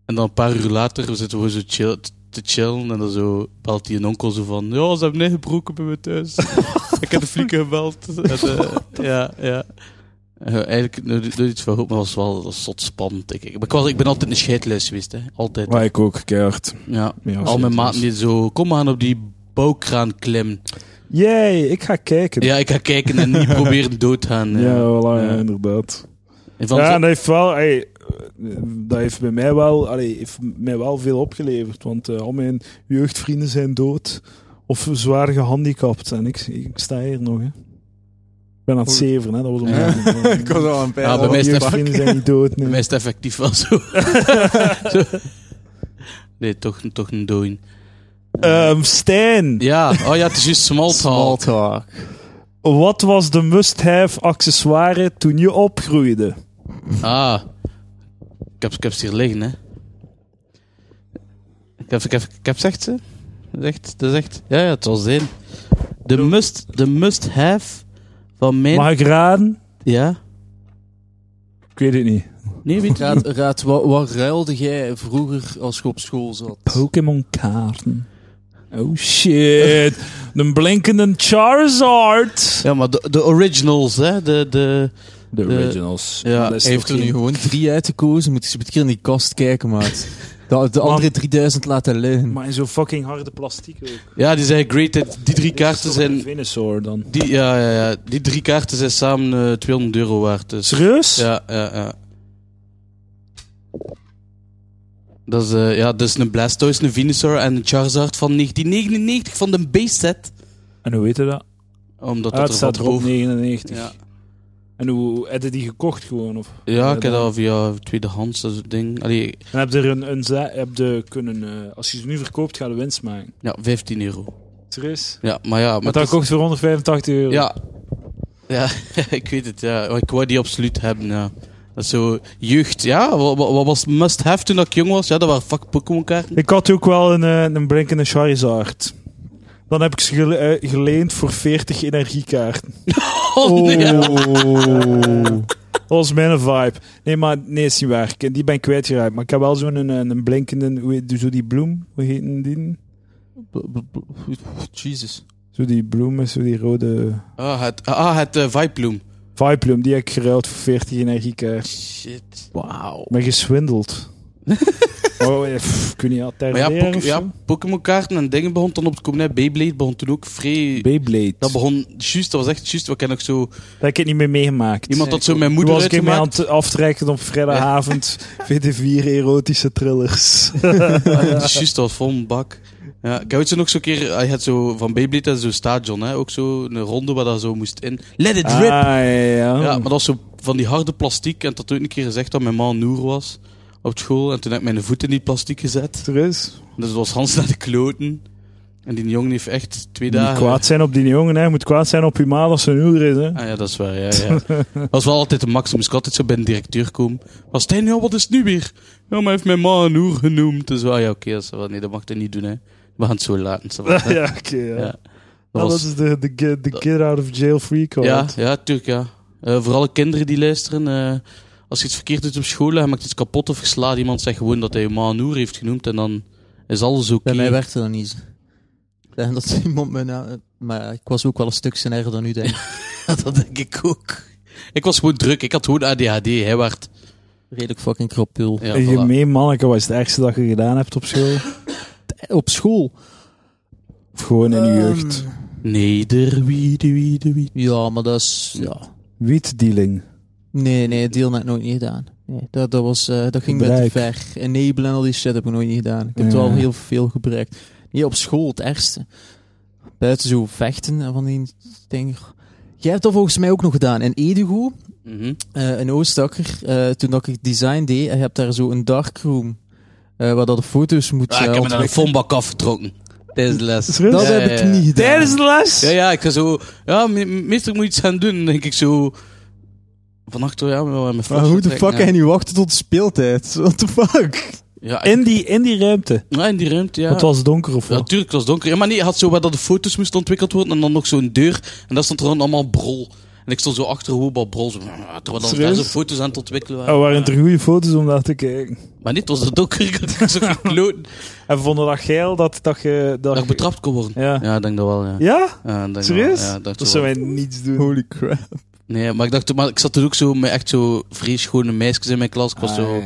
[SPEAKER 2] en dan een paar uur later we zitten we zo chill, te chillen. En dan zo belt hij een onkel zo van... Ja, ze hebben neergebroken bij me thuis. Ik heb de flieken gebeld. En, eh, ja, ja. Eh, eigenlijk nooit nooit iets van hoop, maar dat was wel dat was zot spannend, denk ik. Maar ik, was, ik ben altijd een scheidlijst geweest, hè. Altijd.
[SPEAKER 1] Maar ik ook, keihard.
[SPEAKER 2] Ja. Al mijn maten die zo... Kom maar aan op die bouwkraan klimmen.
[SPEAKER 1] Jee, ik ga kijken.
[SPEAKER 2] Ja, ik ga kijken en niet proberen doodgaan.
[SPEAKER 1] Ja, voilà, ja,
[SPEAKER 2] Ja.
[SPEAKER 1] inderdaad.
[SPEAKER 2] En van
[SPEAKER 1] ja,
[SPEAKER 2] zo-
[SPEAKER 1] en dat heeft wel. ey, dat heeft bij mij wel, allee, heeft mij wel veel opgeleverd. Want eh, al mijn jeugdvrienden zijn dood of zwaar gehandicapt. En ik, ik sta hier nog. Hè. Ik ben aan het
[SPEAKER 3] Oei.
[SPEAKER 1] zeveren, hè. dat was om
[SPEAKER 2] Ja.
[SPEAKER 3] Ik was al een pijl.
[SPEAKER 2] Ja,
[SPEAKER 1] Al
[SPEAKER 2] bij mij
[SPEAKER 1] mijn
[SPEAKER 2] is het
[SPEAKER 1] jeugdvrienden Oh, zijn niet dood.
[SPEAKER 2] Bij
[SPEAKER 1] Nee.
[SPEAKER 2] mij is het effectief wel zo. Zo. Nee, toch, toch een doing.
[SPEAKER 1] Ehm, Stijn,
[SPEAKER 2] Ja, oh ja, het is juist small
[SPEAKER 3] Small
[SPEAKER 2] talk.
[SPEAKER 3] talk.
[SPEAKER 1] wat was de must-have accessoire toen je opgroeide?
[SPEAKER 2] Ah. Ik heb, ik heb ze hier liggen, hè. Ik heb, ik heb, ik heb zegt ze? Dat is echt, dat is echt ja, ja, het zal zijn. De must, de must have van mijn...
[SPEAKER 1] Mag ik raden?
[SPEAKER 2] Ja?
[SPEAKER 1] Ik weet het niet.
[SPEAKER 2] Nee, weet je
[SPEAKER 3] Raad, raad wat, wat ruilde jij vroeger als je op school zat?
[SPEAKER 1] Pokémon kaarten. Oh shit. De blinkende Charizard.
[SPEAKER 2] Ja, maar de, de originals, hè. De, de,
[SPEAKER 1] De
[SPEAKER 2] De-
[SPEAKER 1] originals.
[SPEAKER 2] ja,
[SPEAKER 1] Dat is
[SPEAKER 3] Hij heeft
[SPEAKER 1] toch
[SPEAKER 3] er nu
[SPEAKER 1] geen-
[SPEAKER 3] gewoon drie uitgekozen. Moet je eens een keer in die kast kijken, maat. De, de andere 3000 laten liggen.
[SPEAKER 1] Maar in zo'n fucking harde plastic ook.
[SPEAKER 2] ja, die zijn great. hè. Die drie
[SPEAKER 1] Dit is
[SPEAKER 2] kaarten
[SPEAKER 1] toch
[SPEAKER 2] zijn...
[SPEAKER 1] een Venusaur dan.
[SPEAKER 2] Die, ja, ja, ja, die drie kaarten zijn samen eh, 200 euro waard. Dus.
[SPEAKER 1] Serieus?
[SPEAKER 2] Ja, ja, ja. Dat is, eh, ja, dat is een Blastoise, een Venusaur en een Charizard van 1999 van de base set.
[SPEAKER 1] En hoe weet je dat?
[SPEAKER 2] Omdat
[SPEAKER 1] Ah,
[SPEAKER 2] dat
[SPEAKER 1] het
[SPEAKER 2] er van
[SPEAKER 1] staat erop
[SPEAKER 2] boven...
[SPEAKER 1] 99.
[SPEAKER 2] Ja,
[SPEAKER 1] En hoe heb je die gekocht gewoon? Of?
[SPEAKER 2] ja ik heb dat via tweedehands, dat soort ding. Allee,
[SPEAKER 1] En heb je er een, een za- heb je kunnen, eh, als je ze nu verkoopt, ga je winst maken.
[SPEAKER 2] ja, 15 euro.
[SPEAKER 1] Serieus?
[SPEAKER 2] Ja, maar ja...
[SPEAKER 1] Maar
[SPEAKER 2] Maar
[SPEAKER 1] dat
[SPEAKER 2] het is-
[SPEAKER 1] kocht voor 185 euro.
[SPEAKER 2] Ja. Ja, ik weet het, ja. Maar Ik wou die absoluut hebben, ja. Dat is zo... Jeugd, ja. Wat, wat- wat was must-have toen dat ik jong was? Ja, dat waren fuck Pokémon-kaarten.
[SPEAKER 1] Ik had ook wel een, eh, een blinkende Charizard. Dan heb ik ze gele- eh, geleend voor 40 energiekaarten.
[SPEAKER 2] Oh, nee.
[SPEAKER 1] Dat was mijn vibe. Nee, maar nee, is niet waar. Ik- Die ben ik kwijtgeraakt. Maar ik heb wel zo'n een, een blinkende, hoe heet, zo die bloem, hoe heet die?
[SPEAKER 3] Jesus.
[SPEAKER 1] Zo die bloem met zo die rode
[SPEAKER 2] Ah, het, ah, het eh, Viploom.
[SPEAKER 1] Viploom, die heb ik geruild voor 40 energiekaarten.
[SPEAKER 2] Shit. Wauw.
[SPEAKER 1] Maar geswindeld. oh, eh, pff, ik weet niet,
[SPEAKER 2] Maar ja,
[SPEAKER 1] alterneren
[SPEAKER 2] Poké-
[SPEAKER 1] of zo?
[SPEAKER 2] ja Pokémon-kaarten en dingen begon dan op te komen. Hè. Beyblade begon toen ook vrij...
[SPEAKER 1] Beyblade.
[SPEAKER 2] dat
[SPEAKER 1] Dat,
[SPEAKER 2] begon juist, dat was echt juist. Wat ken ik zo...
[SPEAKER 1] heb ik niet meer meegemaakt.
[SPEAKER 2] Iemand had zo mijn
[SPEAKER 1] Toen
[SPEAKER 2] moeder
[SPEAKER 1] was ik mee aan
[SPEAKER 2] uitgemaakt.
[SPEAKER 1] het aftrekken op vrijdagavond. VD4 erotische thrillers.
[SPEAKER 2] Juist, dat was vol een bak. Ja, ik heb ooit zo nog zo'n keer... Je had zo van Beyblade dat is zo'n stadion, hè. Ook zo een ronde waar dat zo moest in. Let it
[SPEAKER 1] Ah,
[SPEAKER 2] rip!
[SPEAKER 1] ja. ja.
[SPEAKER 2] Ja, maar dat was zo van die harde plastiek. En dat had ooit een keer gezegd dat mijn ma een noer was op school. En toen heb ik mijn voet in die plastic gezet.
[SPEAKER 1] er is.
[SPEAKER 2] Dus dat was Hans naar de kloten. En die eh, jongen heeft echt twee
[SPEAKER 1] Je moet
[SPEAKER 2] dagen...
[SPEAKER 1] kwaad zijn op die jongen, hè. Je moet kwaad zijn op je ma als ze een uur is, hè.
[SPEAKER 2] Ah ja, dat is waar, ja, ja. Dat was wel altijd de max. Dan moest ik altijd zo bij een directeur komen. Was hij nou, wat is het nu weer? Ja, maar heeft mijn ma een oer genoemd. Dus ah ja, oké, dat is wel- nee, dat mag hij niet doen, hè. We gaan het zo laten. dat was-
[SPEAKER 1] ja, oké, ja.
[SPEAKER 2] Ja.
[SPEAKER 1] Ah,
[SPEAKER 2] Dat
[SPEAKER 1] Dat
[SPEAKER 2] was,
[SPEAKER 1] is de, de, get- de get out of jail free card.
[SPEAKER 2] ja, ja, tuurlijk, ja. Eh, voor alle kinderen die luisteren, eh, als je iets verkeerd doet op school, hij maakt iets kapot of geslaat iemand, zeg gewoon dat hij je ma een oer heeft genoemd en dan is alles oké.
[SPEAKER 3] Bij mij werkte dat niet. Ja, Dat iemand me na... Maar ik was ook wel een stuk sneller dan nu, denk ik.
[SPEAKER 2] dat denk ik ook. Ik was gewoon druk, ik had gewoon ADHD, hij werd...
[SPEAKER 3] Redelijk fucking krapul.
[SPEAKER 2] Ja,
[SPEAKER 1] Een
[SPEAKER 2] voilà.
[SPEAKER 1] gemeen manneke, wat is het ergste dat je gedaan hebt op school?
[SPEAKER 3] Op school?
[SPEAKER 1] Of gewoon in je
[SPEAKER 3] Ehm,
[SPEAKER 1] jeugd?
[SPEAKER 2] Neder, wie, de wie, de wie.
[SPEAKER 3] Ja, maar dat is...
[SPEAKER 1] Ja. Wietdealing.
[SPEAKER 3] Nee, nee, deel net nooit niet gedaan. Nee, dat, dat, was, eh, dat ging met te
[SPEAKER 1] Gebruik.
[SPEAKER 3] ver. Enablen en al die shit heb ik nooit niet gedaan. Ik heb het
[SPEAKER 1] Ja.
[SPEAKER 3] wel heel veel gebruikt. Niet op school, het ergste. Buiten zo vechten en van die dingen. Jij hebt dat volgens mij ook nog gedaan. In Edego,
[SPEAKER 2] Mhm.
[SPEAKER 3] eh, in Oostakker, eh, toen dat ik design deed, en je hebt daar zo een darkroom. eh waar dat de foto's moeten
[SPEAKER 2] Ah, ik heb me naar een
[SPEAKER 3] ontwikkelen.
[SPEAKER 2] fombak afgetrokken. Tijdens de les.
[SPEAKER 1] Serieus?
[SPEAKER 3] Dat
[SPEAKER 2] Ja,
[SPEAKER 3] heb
[SPEAKER 2] ja,
[SPEAKER 3] ik
[SPEAKER 2] ja.
[SPEAKER 3] niet gedaan.
[SPEAKER 1] Tijdens de les?
[SPEAKER 2] Ja, ja, ik ga zo... Ja, me- meester, ik moet iets gaan doen. Dan denk ik zo... Vannacht, hoor, ja, met mijn
[SPEAKER 3] Maar
[SPEAKER 2] flesje
[SPEAKER 3] hoe de
[SPEAKER 2] trekken,
[SPEAKER 3] fuck
[SPEAKER 2] ja.
[SPEAKER 3] ga je nu wachten tot de speeltijd? What the fuck?
[SPEAKER 2] Ja, ik-
[SPEAKER 1] In die, in die ruimte.
[SPEAKER 2] ja, in die ruimte, ja.
[SPEAKER 1] Het was donker of
[SPEAKER 2] Ja,
[SPEAKER 1] wat?
[SPEAKER 2] tuurlijk, het was donker. Ja, maar nee, hij had zo waar dat de foto's moesten ontwikkeld worden en dan nog zo'n deur. En daar stond er dan allemaal brol. En ik stond zo achter hoe wat brol. Zo, terwijl dan daar
[SPEAKER 1] Serieus?
[SPEAKER 2] zo foto's aan het ontwikkelen waren.
[SPEAKER 1] Oh, Er waren er goede foto's om naar te kijken.
[SPEAKER 2] Maar niet, het was donker. Ik had zo gekloten.
[SPEAKER 1] En we vonden dat geil dat, dat je... Dat,
[SPEAKER 2] Dat ik
[SPEAKER 1] je-
[SPEAKER 2] betrapt kon worden.
[SPEAKER 1] Ja.
[SPEAKER 2] Ja, ik denk dat wel, ja.
[SPEAKER 1] Ja?
[SPEAKER 2] Ja, ik denk dat
[SPEAKER 1] Serieus?
[SPEAKER 2] wel, ja, ik denk
[SPEAKER 1] Dat
[SPEAKER 2] dat
[SPEAKER 1] zou
[SPEAKER 2] wel.
[SPEAKER 1] wij niets doen.
[SPEAKER 3] Holy crap.
[SPEAKER 2] Nee, maar ik dacht, maar ik zat toen ook zo met echt zo vrees schone meisjes in mijn klas. Ik was
[SPEAKER 1] Ah,
[SPEAKER 2] zo,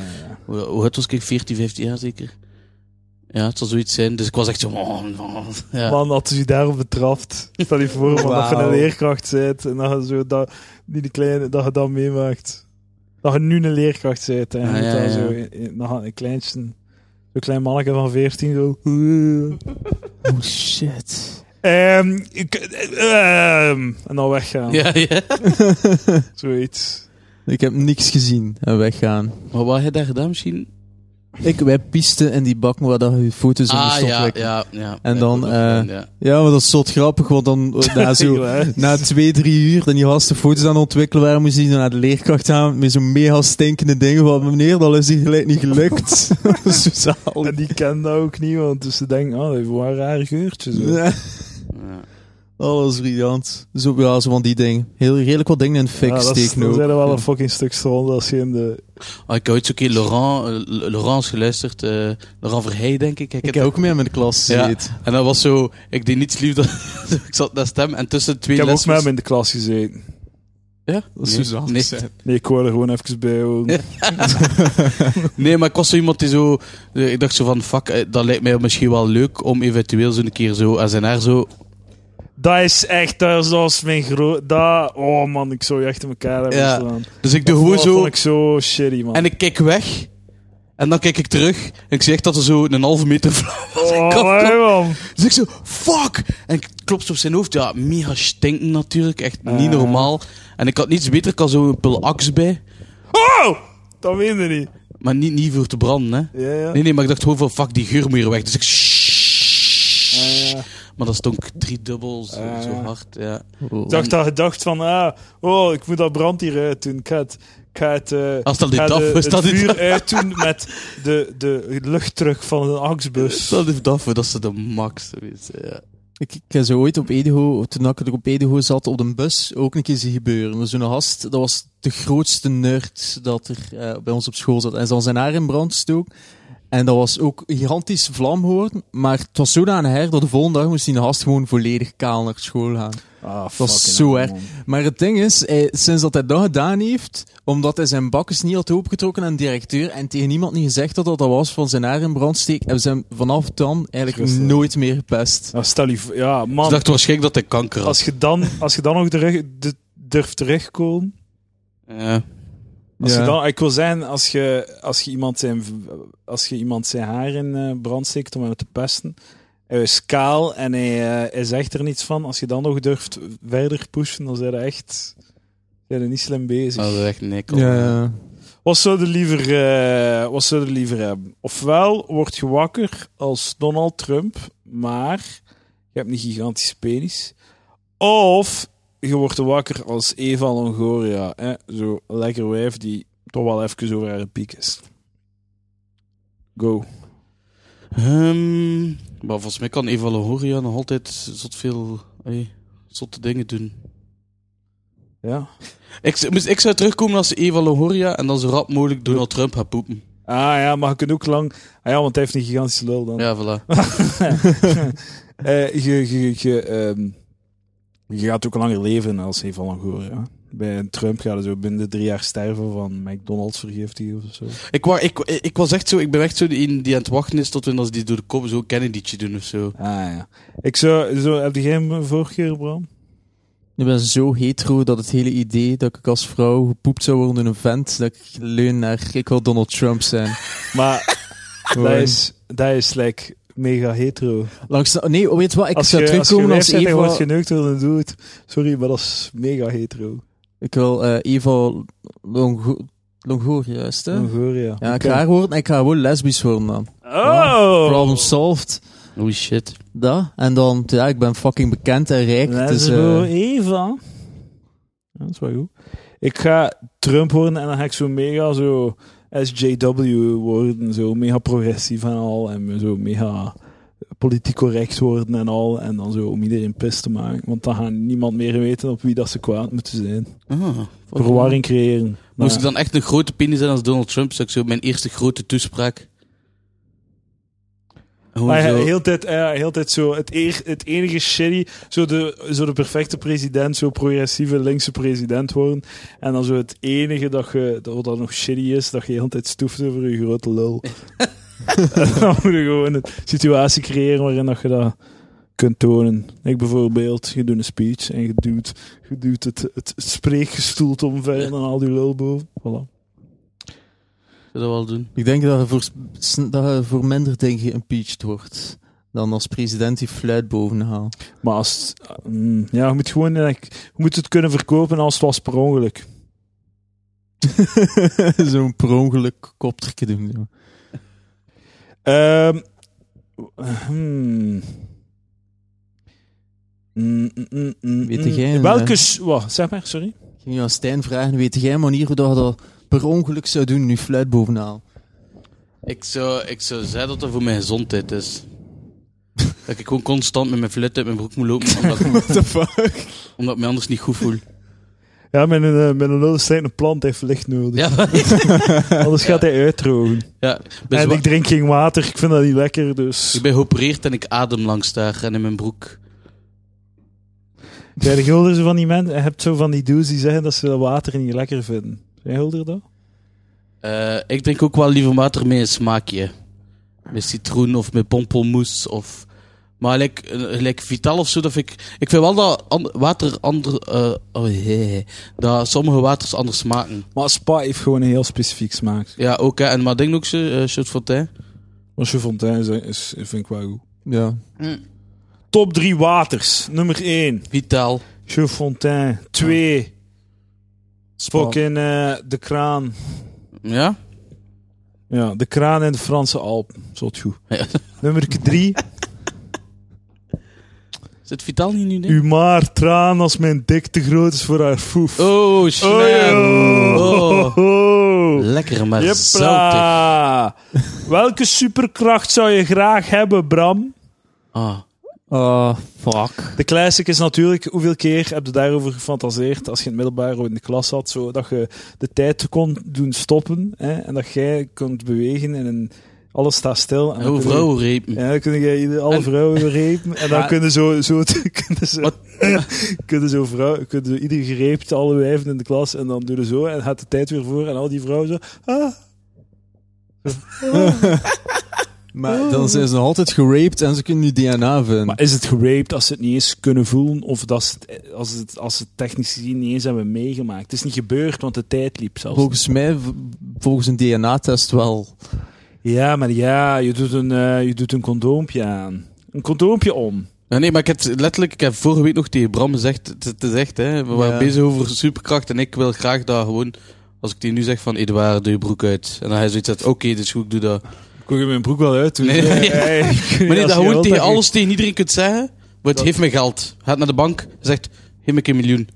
[SPEAKER 2] hoe hoe oud was ik? 14, 15 jaar zeker. Ja, het zal zoiets zijn. Dus ik was echt zo, oh, oh, ja.
[SPEAKER 1] Man, had u daarop betrapt. Stel je voor, man, dat je een
[SPEAKER 3] Ah, Wauw.
[SPEAKER 1] leerkracht bent en dat je, zo, dat, die de kleine, dat je dat meemaakt. Dat je nu een leerkracht bent en je
[SPEAKER 2] Ah,
[SPEAKER 1] moet
[SPEAKER 2] ja,
[SPEAKER 1] dan
[SPEAKER 2] ja.
[SPEAKER 1] zo in- in- dan gaat een kleinste, zo'n klein manneke van 14 zo.
[SPEAKER 3] Oh shit.
[SPEAKER 1] Ehm, ik- ehm, en dan weggaan.
[SPEAKER 2] Ja, ja.
[SPEAKER 1] Zoiets.
[SPEAKER 3] Ik heb niks gezien en weggaan.
[SPEAKER 2] Maar wat had hij daar gedaan misschien?
[SPEAKER 3] Ik, wij piesten in die bak waar dat je foto's in
[SPEAKER 2] ah,
[SPEAKER 3] stond
[SPEAKER 2] ja,
[SPEAKER 3] wekken.
[SPEAKER 2] ja, ja.
[SPEAKER 3] En
[SPEAKER 2] Ja,
[SPEAKER 3] dan,
[SPEAKER 2] dat-
[SPEAKER 3] eh,
[SPEAKER 2] ja.
[SPEAKER 3] Ja, maar dat is zot grappig, want dan eh, na, zo, na twee, drie uur, dan die gasten foto's aan het ontwikkelen waren, moest je naar de leerkracht gaan met zo'n mega stinkende ding van, meneer, dat is hier gelijk niet gelukt. zo zalig.
[SPEAKER 1] En die kent dat ook niet, want dus ze denken, oh, dat heeft wel een raar geurtje. Zo.
[SPEAKER 3] Ja,
[SPEAKER 2] Ja.
[SPEAKER 3] alles briljant. Zo, ja, zo van die dingen. Heel redelijk wat dingen in de fik
[SPEAKER 1] Ja, dat is-
[SPEAKER 3] steken
[SPEAKER 1] Dan
[SPEAKER 3] ook.
[SPEAKER 1] zijn er wel
[SPEAKER 3] Ja.
[SPEAKER 1] een fucking stuk stront als je in de...
[SPEAKER 2] Ah, ik heb ooit zo'n keer Laurent, eh, L- Laurent is geluisterd. eh, Laurent Verheij, denk ik.
[SPEAKER 3] Ik heb ook mee met de klas
[SPEAKER 2] Ja.
[SPEAKER 3] gezeten.
[SPEAKER 2] En dat was zo... Ik deed niets lief. Dat, ik zat naast hem en tussen twee
[SPEAKER 1] Ik heb ook
[SPEAKER 2] lessen...
[SPEAKER 1] met hem in de klas gezeten.
[SPEAKER 2] Ja?
[SPEAKER 3] Dat
[SPEAKER 2] Nee,
[SPEAKER 3] is zo
[SPEAKER 2] nee.
[SPEAKER 3] zalig.
[SPEAKER 1] Nee, ik wou er gewoon even bij houden.
[SPEAKER 2] Ja. Nee, maar ik was zo iemand die zo... eh, Ik dacht zo van, fuck, eh, dat lijkt mij misschien wel leuk om eventueel zo'n keer zo SNR zo...
[SPEAKER 1] Dat is echt, dat is, dat is mijn groot... Dat, oh man, ik zou je echt in elkaar hebben
[SPEAKER 2] Ja.
[SPEAKER 1] slaan.
[SPEAKER 2] Dus ik doe
[SPEAKER 1] Dat
[SPEAKER 2] gewoon zo...
[SPEAKER 1] vond ik zo shitty, man.
[SPEAKER 2] En ik kijk weg. En dan kijk ik terug. En ik zie echt dat er zo een halve meter... vlak-
[SPEAKER 1] oh,
[SPEAKER 2] kan-
[SPEAKER 1] hey, man.
[SPEAKER 2] Dus ik zo, fuck! En ik klop zo op zijn hoofd. Ja, mega stinken natuurlijk. Echt niet
[SPEAKER 1] Ah.
[SPEAKER 2] normaal. En ik had niets beter. Ik had zo een pul aks bij.
[SPEAKER 1] Oh! Dat weet je niet.
[SPEAKER 2] Maar niet, niet voor te branden, hè.
[SPEAKER 1] Ja, ja.
[SPEAKER 2] Nee, nee, maar ik dacht gewoon van, fuck, die geur moet hier weg. Dus ik...
[SPEAKER 1] Ah, ja.
[SPEAKER 2] Maar dat stonk drie dubbels, zo,
[SPEAKER 1] Ah,
[SPEAKER 2] zo
[SPEAKER 1] ja.
[SPEAKER 2] hard, ja.
[SPEAKER 1] Ik dacht dat gedacht van, ah, oh, ik moet dat brand hier uit doen. Ik ga het, ik ga het, eh,
[SPEAKER 2] Als dat
[SPEAKER 1] ik
[SPEAKER 2] dit
[SPEAKER 1] ga
[SPEAKER 2] af
[SPEAKER 1] de,
[SPEAKER 2] is,
[SPEAKER 1] het
[SPEAKER 2] dat dit
[SPEAKER 1] vuur
[SPEAKER 2] af.
[SPEAKER 1] uit doen met de, de luchtdruk van een
[SPEAKER 2] Dus
[SPEAKER 1] axbus.
[SPEAKER 2] dat heeft af, dat ze de max is, ja.
[SPEAKER 3] Ik, ik heb zo ooit op Edeho, toen ik er op Edeho zat, op een bus, ook een keer zien gebeuren. Maar Zo'n gast, dat was de grootste nerd dat er eh, bij ons op school zat. Hij is dan zijn haar in brand gestoken. En dat was ook een gigantisch vlam horen. Maar het was zodanig her dat de volgende dag moest die gast gewoon volledig kaal naar school gaan.
[SPEAKER 1] Ah, dat
[SPEAKER 3] was zo erg. Maar het ding is, hij- sinds dat hij dat gedaan heeft, omdat hij zijn bakkes niet had opengetrokken aan de directeur en tegen niemand niet gezegd had dat dat was van zijn haar in brand steek, hebben ze hem vanaf dan eigenlijk
[SPEAKER 1] Rustig.
[SPEAKER 3] nooit meer gepest.
[SPEAKER 1] Nou, stel je voor- ja,
[SPEAKER 2] Ze
[SPEAKER 1] man,
[SPEAKER 2] dachten waarschijnlijk dat hij kanker had.
[SPEAKER 1] als je dan, als je dan nog terug, de, durft terugkomen.
[SPEAKER 2] Ja.
[SPEAKER 1] Als
[SPEAKER 3] Ja.
[SPEAKER 1] je dan, ik wil zijn, als je, als je, iemand, zijn, als je iemand zijn haar in eh, brand steekt om hem te pesten, hij is kaal en hij, eh, hij zegt er niets van. Als je dan nog durft verder pushen, dan zijn er echt zijn er niet slim bezig.
[SPEAKER 2] Dat is echt nek.
[SPEAKER 3] Ja, ja.
[SPEAKER 1] Wat zou je liever, eh, wat zou je liever hebben? Ofwel word je wakker als Donald Trump, maar je hebt een gigantische penis. Of je wordt wakker als Eva Longoria. Hè? Zo lekker wijf die toch wel even over haar piek is. Go.
[SPEAKER 2] Ehm, maar volgens mij kan Eva Longoria nog altijd zot veel... Hey, zotte dingen doen.
[SPEAKER 1] Ja.
[SPEAKER 2] Ik, z- moest- ik zou terugkomen als Eva Longoria en dan zo rap mogelijk Donald Trump gaat poepen.
[SPEAKER 1] Ah ja, maar je kunt ook lang... Ah ja, want hij heeft een gigantische lul dan.
[SPEAKER 2] Ja, voilà.
[SPEAKER 1] Eh, je, je, je, ehm, je gaat ook langer leven als Eva Longoria. Bij een Trump gaat er zo binnen drie jaar sterven van McDonald's vergiftiging of zo.
[SPEAKER 2] Ik, wa- ik, ik was echt zo, ik ben echt zo de een die aan het wachten is tot wanneer ze die door de kop zo Kennedy'tje doen of zo.
[SPEAKER 1] Ah ja. Ik zou, zo, heb je geen voorkeur, Bram?
[SPEAKER 3] Ik ben zo hetero dat het hele idee dat ik als vrouw gepoept zou worden door een vent, dat ik leun naar ik wil Donald Trump zijn.
[SPEAKER 1] Maar dat
[SPEAKER 3] Gewoon.
[SPEAKER 1] is, dat is like, mega hetero.
[SPEAKER 3] Langs de- nee, weet je wat? Ik
[SPEAKER 1] als
[SPEAKER 3] zou
[SPEAKER 1] je, als je
[SPEAKER 3] terugkomen
[SPEAKER 1] wijf
[SPEAKER 3] als,
[SPEAKER 1] bent en je
[SPEAKER 3] Eva...
[SPEAKER 1] wordt geneukt door een dude, sorry, maar dat is mega hetero.
[SPEAKER 3] Ik wil eh, Eva Longo- Longoria, juist hè?
[SPEAKER 1] Longoria.
[SPEAKER 3] Ja, ik ga haar worden en ik ga gewoon lesbisch worden dan.
[SPEAKER 1] Oh!
[SPEAKER 3] Problem solved.
[SPEAKER 2] Oh shit.
[SPEAKER 3] Dat. En dan, ja, ik ben fucking bekend en rijk. Dus,
[SPEAKER 1] Lesbo
[SPEAKER 3] eh,
[SPEAKER 1] Eva. Ja, dat is wel goed. Ik ga Trump worden en dan ga ik zo mega zo SJW worden. Zo mega progressief en al. En zo mega politiek correct worden en al. En dan zo om iedereen pis te maken. Want dan gaat niemand meer weten op wie dat ze kwaad moeten zijn.
[SPEAKER 2] Ah.
[SPEAKER 1] Verwarring creëren.
[SPEAKER 2] Moest ik
[SPEAKER 1] Maar-
[SPEAKER 2] dan echt een grote penis zijn als Donald Trump, zou ik zo mijn eerste grote toespraak. Gewoon
[SPEAKER 1] Maar
[SPEAKER 2] zo.
[SPEAKER 1] hij- heel tijd, ja, heel tijd zo, het, eer- het enige shitty, zo de, zo de perfecte president, zo progressieve linkse president worden. En dan zo het enige dat je, dat, wat dan nog shitty is, dat je heel tijd stoeft over je grote lul. en dan moet je gewoon een situatie creëren waarin dat je dat kunt tonen. Ik bijvoorbeeld, je doet een speech en je duwt, je duwt het, het spreekgestoelte omver en dan al die lul boven. Voilà.
[SPEAKER 2] Zou dat wel doen.
[SPEAKER 3] Ik denk dat je, voor, sn- dat je voor minder dingen geïmpeached wordt dan als president die fluit boven haalt.
[SPEAKER 1] Maar als, het- mm, ja, je moet gewoon, eh, je moet het kunnen verkopen als het was per ongeluk.
[SPEAKER 3] Zo'n per ongeluk koptertje doen. ja.
[SPEAKER 1] Ehm, hmm. Mm, mm, mm, mm,
[SPEAKER 3] Weet jij,
[SPEAKER 1] mm.
[SPEAKER 3] eh,
[SPEAKER 1] Welke... s- Wat, zeg maar, sorry.
[SPEAKER 3] Ik ging nu aan Stijn vragen, weet jij een manier hoe dat je dat per ongeluk zou doen, nu fluit bovenaan?
[SPEAKER 2] Ik zou, ik zou zeggen dat dat voor mijn gezondheid is. dat ik gewoon constant met mijn fluit uit mijn broek moet lopen, omdat,
[SPEAKER 3] What the fuck?
[SPEAKER 2] omdat ik me anders niet goed voel.
[SPEAKER 1] Ja, met een, eh, met een lul is een plant heeft licht nodig.
[SPEAKER 2] Ja, dus
[SPEAKER 1] Anders gaat hij uitdrogen.
[SPEAKER 2] ja. Ik ben
[SPEAKER 1] en
[SPEAKER 2] zwa-
[SPEAKER 1] ik drink geen water, ik vind dat niet lekker, dus...
[SPEAKER 2] ik ben geopereerd en ik adem langs daar en in mijn broek.
[SPEAKER 1] Bij de gulder zo van die mensen, je hebt zo van die dudes die zeggen dat ze dat water niet lekker vinden. Zijn gulder dat?
[SPEAKER 2] Eh, ik drink ook wel liever water met een smaakje. Met citroen of met pompelmoes of... Maar gelijk, eh, gelijk Vital of zo, dat vind ik... Ik vind wel dat an- water ander... eh, oh, jee. Dat sommige waters anders smaken.
[SPEAKER 1] Maar spa heeft gewoon een heel specifiek smaak.
[SPEAKER 2] Ja, ook hè. En maar denk ook zo, eh Chaud Fontaine.
[SPEAKER 1] Als je fontein is, vind ik wel goed.
[SPEAKER 3] Ja.
[SPEAKER 1] Top 3 waters. Nummer 1.
[SPEAKER 2] Vital.
[SPEAKER 1] Chaudfontein. 2.
[SPEAKER 3] Spa.
[SPEAKER 1] Fucking eh, de kraan.
[SPEAKER 2] Ja?
[SPEAKER 1] Ja, de kraan in de Franse Alpen. Zot goed.
[SPEAKER 2] Ja.
[SPEAKER 1] Nummer 3.
[SPEAKER 2] Zit Vital niet nu? Denk?
[SPEAKER 1] Uw maar traan als mijn dik te groot is voor haar foef.
[SPEAKER 2] Oh, snap.
[SPEAKER 1] joh.
[SPEAKER 2] Oh. Lekker, maar zoutig.
[SPEAKER 1] Jepla. Welke superkracht zou je graag hebben, Bram?
[SPEAKER 2] Ah.
[SPEAKER 3] Oh, fuck.
[SPEAKER 1] De classic is natuurlijk, hoeveel keer heb je daarover gefantaseerd als je in het middelbaar of in de klas zat, zo, dat je de tijd kon doen stoppen hè, en dat jij kunt bewegen en een- alles staat stil. En dan
[SPEAKER 2] Oh,
[SPEAKER 1] kun je-
[SPEAKER 2] vrouwenrepen.
[SPEAKER 1] Ja, dan kunnen jij ieder- alle
[SPEAKER 2] En-
[SPEAKER 1] vrouwen berepen en dan
[SPEAKER 3] Maar-
[SPEAKER 1] kunnen zo, zo, kunnen zo,
[SPEAKER 2] Wat?
[SPEAKER 1] kunnen zo, vrouw, kunnen zo ieder gereept, alle wijven in de klas en dan doen ze zo en gaat de tijd weer voor en al die vrouwen zo. Ah,
[SPEAKER 3] Maar dan zijn ze nog altijd geraped en ze kunnen nu DNA vinden.
[SPEAKER 1] Maar is het geraped als ze het niet eens kunnen voelen? Of dat ze het, als, ze het, als ze het technisch gezien niet eens hebben meegemaakt? Het is niet gebeurd, want de tijd liep zelfs.
[SPEAKER 3] volgens mij, v- volgens een DNA-test wel.
[SPEAKER 1] Ja, maar ja, je doet, een, eh, je doet een condoompje aan. Een condoompje om.
[SPEAKER 2] Ja, nee, maar ik heb het letterlijk, ik heb vorige week nog tegen Bram gezegd, het het is echt, hè, we waren
[SPEAKER 3] Ja.
[SPEAKER 2] bezig over superkracht en ik wil graag dat gewoon, als ik die nu zeg van Eduard, doe je broek uit. En dan hij zoiets zegt, oké, dit is goed, ik doe dat.
[SPEAKER 1] Ik kon je mijn broek wel uit doen.
[SPEAKER 2] Nee. Maar nee, dat gewoon tegen
[SPEAKER 1] alles.
[SPEAKER 2] alles, tegen iedereen kunt zeggen, want
[SPEAKER 1] Dat-
[SPEAKER 2] geef me geld. Gaat naar de bank, zegt, geef me een miljoen.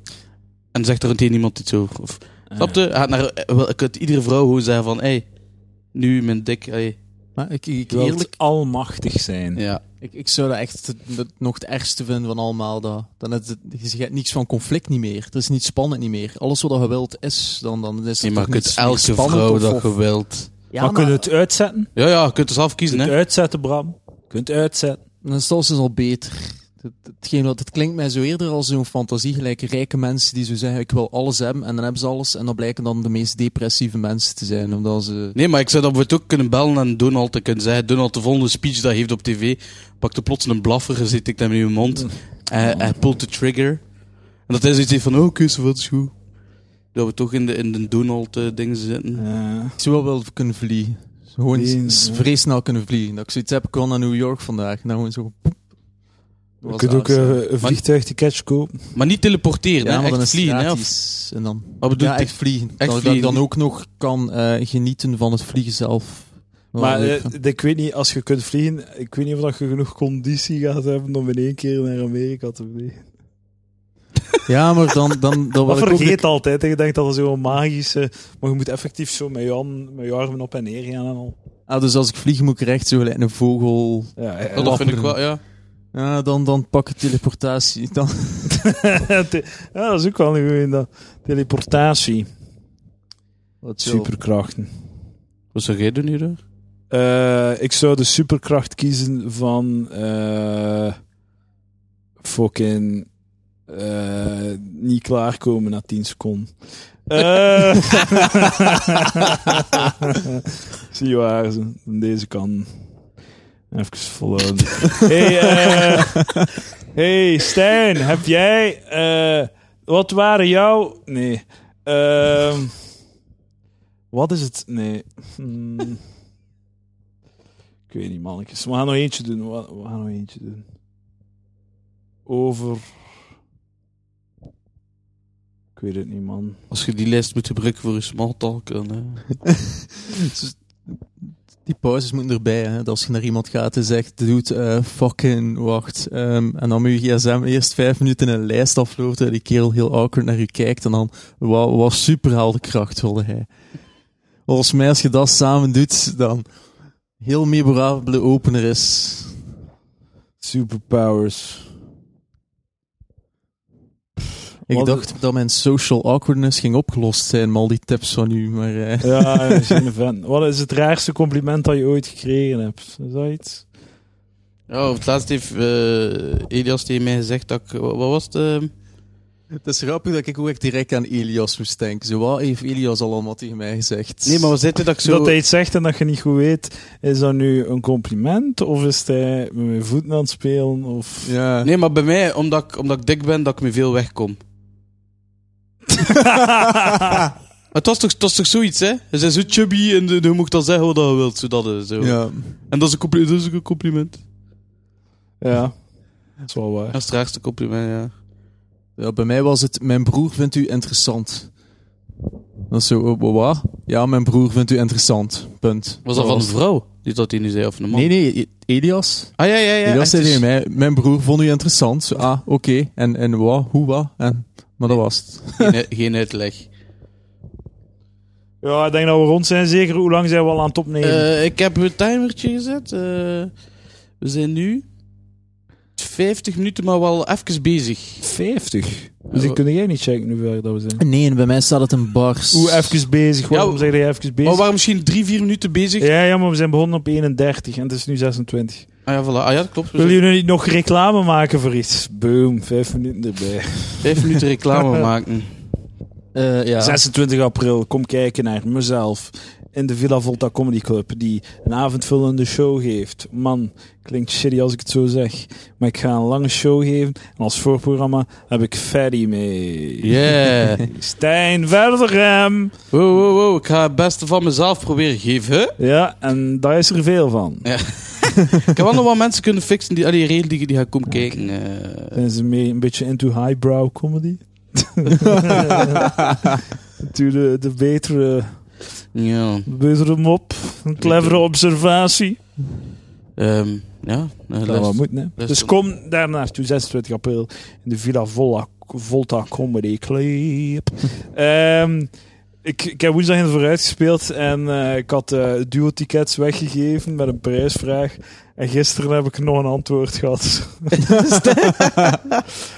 [SPEAKER 2] En zegt er meteen niemand iets over. Of, Snap je? Gaat naar, eh, wel, ik kunt iedere vrouw gewoon zeggen van, hé, hey, nu mijn dik, hey.
[SPEAKER 3] Maar ik,
[SPEAKER 1] Je wilt almachtig zijn.
[SPEAKER 2] Ja.
[SPEAKER 3] Ik, ik zou dat echt het- het nog het ergste vinden van allemaal. Dat, dan het, het- je hebt niks van conflict niet meer. Het is niet spannend niet meer. Alles wat je wilt is, dan, dan is het
[SPEAKER 2] Nee, maar
[SPEAKER 3] toch
[SPEAKER 2] je kunt
[SPEAKER 3] niets meer
[SPEAKER 2] elke
[SPEAKER 3] spannend
[SPEAKER 2] vrouw
[SPEAKER 3] of-
[SPEAKER 2] dat
[SPEAKER 3] of-
[SPEAKER 2] je wilt.
[SPEAKER 3] Ja,
[SPEAKER 1] maar,
[SPEAKER 3] maar,
[SPEAKER 1] kun je het uitzetten?
[SPEAKER 2] Ja, ja, je kunt het zelf kiezen,
[SPEAKER 1] Kunt
[SPEAKER 2] hè.
[SPEAKER 1] uitzetten, Bram. Kunt uitzetten.
[SPEAKER 3] dan is het alles dus al beter. Het, hetgeen, wat- het klinkt mij zo eerder als zo'n fantasie, gelijk rijke mensen die zo zeggen, ik wil alles hebben, en dan hebben ze alles, en dan blijken dan de meest depressieve mensen te zijn, omdat ze...
[SPEAKER 2] Nee, maar ik zou dat bijvoorbeeld ook kunnen bellen aan Donald en kunnen zeggen: Donald, de volgende speech dat hij heeft op tv, pakt er plots een blaffer, en zit ik hem in uw mond. En hij pult de trigger. En dat hij zoiets heeft van: oh, kus, wat is goed. Dat we toch in de, in de Donald-dingen zitten.
[SPEAKER 1] Ja.
[SPEAKER 3] Ik zou wel willen kunnen vliegen. Gewoon
[SPEAKER 1] Vliegen,
[SPEAKER 3] s-
[SPEAKER 1] ja.
[SPEAKER 3] vrij snel kunnen vliegen. Dat ik zoiets heb, ik wil naar New York vandaag. En dan gewoon zo... poep.
[SPEAKER 1] Je
[SPEAKER 3] Was
[SPEAKER 1] kunt ook
[SPEAKER 3] daar zo.
[SPEAKER 1] eh, een vliegtuigticketje kopen.
[SPEAKER 2] Maar niet teleporteren,
[SPEAKER 3] Ja,
[SPEAKER 2] hè?
[SPEAKER 3] maar dan
[SPEAKER 2] Echt
[SPEAKER 3] is het
[SPEAKER 2] vliegen, hè? Of-
[SPEAKER 3] gratis. En dan...
[SPEAKER 2] Wat bedoel
[SPEAKER 3] Ja,
[SPEAKER 2] ik?
[SPEAKER 3] echt vliegen. dat, dat
[SPEAKER 2] vliegen.
[SPEAKER 3] ik dan ook nog kan eh, genieten van het vliegen zelf. Wel
[SPEAKER 1] Maar
[SPEAKER 3] leuk
[SPEAKER 1] eh,
[SPEAKER 3] vind.
[SPEAKER 1] d- ik weet niet, als je kunt vliegen, ik weet niet of dat je genoeg conditie gaat hebben om in één keer naar Amerika te vliegen.
[SPEAKER 3] ja, maar dan, dan, dan wil
[SPEAKER 1] Dat
[SPEAKER 3] ik ook...
[SPEAKER 1] vergeet altijd. hè. Je denkt dat dat zo'n magische... Maar je moet effectief zo met je, hand- met je armen op en neer gaan en al.
[SPEAKER 3] Ah, dus als ik vlieg moet ik recht zo gelijk een vogel...
[SPEAKER 1] Ja, eh, ja,
[SPEAKER 2] Ja, Oh, dat vind ik wel, ja.
[SPEAKER 3] Ja, dan, dan pak ik teleportatie. Dan,
[SPEAKER 1] Te- ja, dat is ook wel een goeie. Dat. Teleportatie.
[SPEAKER 3] Wat chill.
[SPEAKER 1] Superkrachten.
[SPEAKER 2] Wat zou jij doen hier?
[SPEAKER 1] Eh, ik zou de superkracht kiezen van... eh, fucking... eh, niet klaarkomen na 10 seconden. Eh. Zie je waar ze. aan Deze kan. Even volhouden. hey, eh, hey, Stijn, heb jij. eh, wat waren jouw. Nee. Ehm, wat is het? Nee. Hmm. Ik weet niet, mannetjes. We gaan nog eentje doen. We gaan- we gaan nog eentje doen. Over. Ik weet het niet, man.
[SPEAKER 2] Als je die lijst moet gebruiken voor je smalltalk, dan. eh.
[SPEAKER 3] Dus Die pauzes moeten erbij. Hè? Dat als je naar iemand gaat en zegt, doet eh, fucking wacht. ehm, en dan moet je gsm eerst vijf minuten een lijst aflopen terwijl die kerel heel awkward naar je kijkt. En dan, wauw, wat superheldenkracht wilde hij. Volgens mij, als je dat samen doet, dan heel memorabele opener is.
[SPEAKER 4] Superpowers.
[SPEAKER 3] Ik
[SPEAKER 1] Wat-
[SPEAKER 3] dacht dat mijn social awkwardness ging opgelost zijn met al die tips van u, maar... eh,
[SPEAKER 1] Ja, dat is een fan. Wat is het raarste compliment dat je ooit gekregen hebt? Is dat iets?
[SPEAKER 2] Ja, op het laatst heeft eh, Elias tegen mij gezegd dat ik... wa- Wat was het? eh,
[SPEAKER 3] Het is grappig dat ik ook echt direct aan Elias moest denken. Zo, wat heeft Elias al allemaal tegen mij gezegd?
[SPEAKER 2] Nee, maar wat zei hij dat ik zo...
[SPEAKER 1] Dat hij iets zegt en dat je niet goed weet, is dat nu een compliment? Of is hij met mijn voeten aan het spelen? Of...
[SPEAKER 3] Ja.
[SPEAKER 2] Nee, maar bij mij, omdat ik, omdat ik dik ben, dat ik me veel wegkom. Maar het was toch, het was toch zoiets, hè? Ze zijn zo chubby en eh, je moet dan zeggen wat je wilt. Zo dat, eh, zo.
[SPEAKER 3] Ja.
[SPEAKER 2] En dat is, een compli- dat is ook een compliment.
[SPEAKER 1] ja, dat is wel
[SPEAKER 2] Dat
[SPEAKER 1] waar.
[SPEAKER 2] is het raarste compliment, ja.
[SPEAKER 3] Ja, bij mij was het, mijn broer vindt u interessant. Dat is zo, eh, wat? Ja, mijn broer vindt u interessant. Punt.
[SPEAKER 2] Was dat van een vrouw? Niet dat hij nu zei, of een man?
[SPEAKER 3] Nee, nee, Elias.
[SPEAKER 2] Ah, ja, ja, ja.
[SPEAKER 3] Elias
[SPEAKER 2] echt,
[SPEAKER 3] zei
[SPEAKER 2] dus-
[SPEAKER 3] tegen mij, mijn broer vond u interessant. Zo, ah, oké. En, en wat, hoe, wat? En, maar dat was het.
[SPEAKER 2] geen, geen uitleg.
[SPEAKER 1] Ja, ik denk dat we rond zijn. Zeker hoe lang zijn we al aan het opnemen?
[SPEAKER 2] Eh, ik heb een timertje gezet. eh, we zijn nu 50 minuten, maar wel even bezig.
[SPEAKER 1] 50. Dus
[SPEAKER 2] Ja,
[SPEAKER 1] die
[SPEAKER 2] we-
[SPEAKER 1] kun jij niet checken hoe ver dat we zijn.
[SPEAKER 3] Nee, bij mij staat het een bars.
[SPEAKER 1] Hoe even bezig? Waarom
[SPEAKER 2] Ja, oh,
[SPEAKER 1] zeg jij even
[SPEAKER 2] Maar
[SPEAKER 1] bezig?
[SPEAKER 2] we waren misschien 3, 4 minuten bezig.
[SPEAKER 1] Ja, ja, maar we zijn begonnen op 31 en het is nu 26.
[SPEAKER 2] Ah ja, voilà. Ah ja, dat klopt. We
[SPEAKER 1] Willen
[SPEAKER 2] zijn
[SPEAKER 1] jullie niet nog reclame maken voor iets? Boom, vijf minuten erbij.
[SPEAKER 2] 5 minuten reclame maken. Eh,
[SPEAKER 3] ja.
[SPEAKER 1] 26 april, kom kijken naar mezelf in de Villa Volta Comedy Club, die een avondvullende show geeft. Man, klinkt shitty als ik het zo zeg, maar ik ga een lange show geven en als voorprogramma heb ik Ferry mee.
[SPEAKER 2] Yeah.
[SPEAKER 1] Stijn Verderem!
[SPEAKER 2] Wow, wow, wow. Ik ga het beste van mezelf proberen geven.
[SPEAKER 1] Ja, en daar is er veel van.
[SPEAKER 2] Ik heb wel nog wat mensen kunnen fixen die, die regel die, die gaan komen kijken. eh.
[SPEAKER 1] Zijn ze mee een beetje into highbrow comedy? Natuurlijk de, de betere,
[SPEAKER 2] ja.
[SPEAKER 1] de betere mop, een clevere observatie.
[SPEAKER 2] Ehm, ja. eh,
[SPEAKER 1] Dat
[SPEAKER 2] luister.
[SPEAKER 1] wel moet, hè.
[SPEAKER 2] les-
[SPEAKER 1] dus kom daar naartoe, 26 april, in de Villa Volla, Volta Comedy Club. Ehm, ik, ik heb woensdag in het vooruit gespeeld en eh, ik had eh duo-tickets weggegeven met een prijsvraag. En gisteren heb ik nog een antwoord gehad.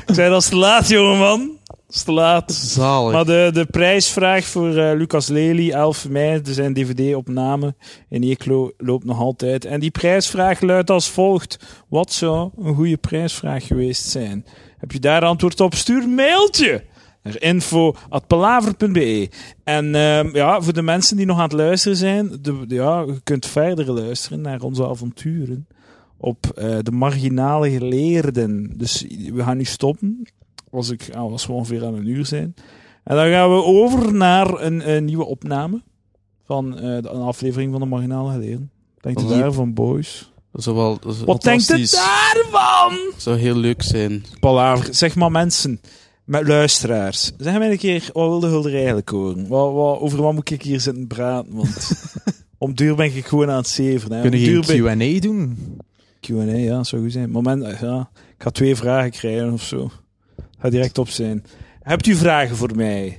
[SPEAKER 1] ik zei, dat is te laat, jongeman. Dat is te laat.
[SPEAKER 2] Zalig.
[SPEAKER 1] Maar de, de prijsvraag voor eh, Lucas Lely, 11 mei, er zijn DVD-opname in Eeklo, loopt nog altijd. En die prijsvraag luidt als volgt. Wat zou een goede prijsvraag geweest zijn? Heb je daar antwoord op? Stuur een mailtje naar info.palaver.be En ehm, ja, voor de mensen die nog aan het luisteren zijn, de, de- ja, je kunt verder luisteren naar onze avonturen op eh, de marginale geleerden. Dus we gaan nu stoppen, als, ik, ah, als we ongeveer aan een uur zijn. En dan gaan we over naar een, een nieuwe opname van eh, de- een aflevering van de marginale geleerden. Denkt u
[SPEAKER 2] Van-
[SPEAKER 1] daar van Boys?
[SPEAKER 2] Dat zou wel... Dat zou,
[SPEAKER 1] Wat denkt u
[SPEAKER 3] fantastisch.
[SPEAKER 1] daarvan?
[SPEAKER 2] dat zou heel leuk zijn.
[SPEAKER 1] Palaver. Zeg maar mensen, met luisteraars. Zeg mij een keer, wat wilde Hulder eigenlijk horen? Wat, wat, over wat moet ik hier zitten praten? Want om duur ben ik gewoon aan het zeveren. Hè. Om
[SPEAKER 3] Kunnen
[SPEAKER 1] duur ben-
[SPEAKER 3] we geen Q&A doen?
[SPEAKER 1] Q&A, ja, dat zou goed zijn. Moment, eh, ja, ik ga twee vragen krijgen of zo. Ga direct op zijn. Hebt u vragen voor mij?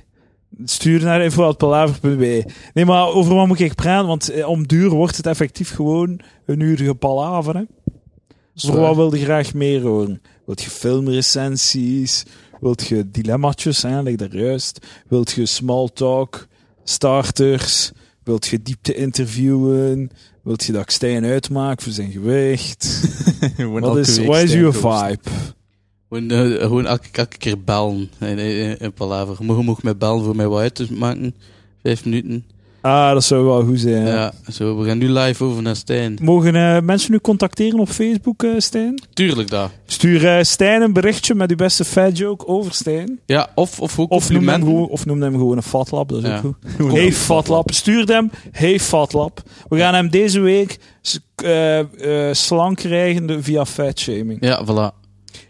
[SPEAKER 1] Stuur naar info.palaver.be. e. Nee, maar over wat moet ik praten? Want eh, om duur wordt het effectief gewoon een uur palaver. Hè? Voor wat wilde je graag meer horen? Wilt je filmrecensies? Wilt je dilemmaatjes? Hè? Leg daar juist. Wilt je small talk? Starters? Wilt je diepte interviewen? Wilt je dat ik Stijn uitmaak voor zijn gewicht? Wat is, wat is uw vibe?
[SPEAKER 2] Gewoon, eh, gewoon elke, elke keer bellen. In, in, in Palaver. Je mag- je mag mij bellen voor mij wat uit te maken. Vijf minuten.
[SPEAKER 1] Ah, dat zou wel goed zijn.
[SPEAKER 2] Ja.
[SPEAKER 1] hè.
[SPEAKER 2] Zo, we gaan nu live over naar Stijn.
[SPEAKER 1] Mogen eh, mensen u contacteren op Facebook, eh, Stijn?
[SPEAKER 2] Tuurlijk daar.
[SPEAKER 1] Stuur eh, Stijn een berichtje met uw beste fat joke over Stijn.
[SPEAKER 2] Ja, of, of
[SPEAKER 1] Of noem,
[SPEAKER 2] ook
[SPEAKER 1] hem
[SPEAKER 2] complimenten.
[SPEAKER 1] gewoon, of noem hem gewoon een fatlap, dat is
[SPEAKER 2] Ja.
[SPEAKER 1] ook goed. Hey fatlap, stuur hem. Hey fatlap. We gaan hem deze week s- eh, eh, slank krijgen de- via fatshaming.
[SPEAKER 2] Ja, voilà.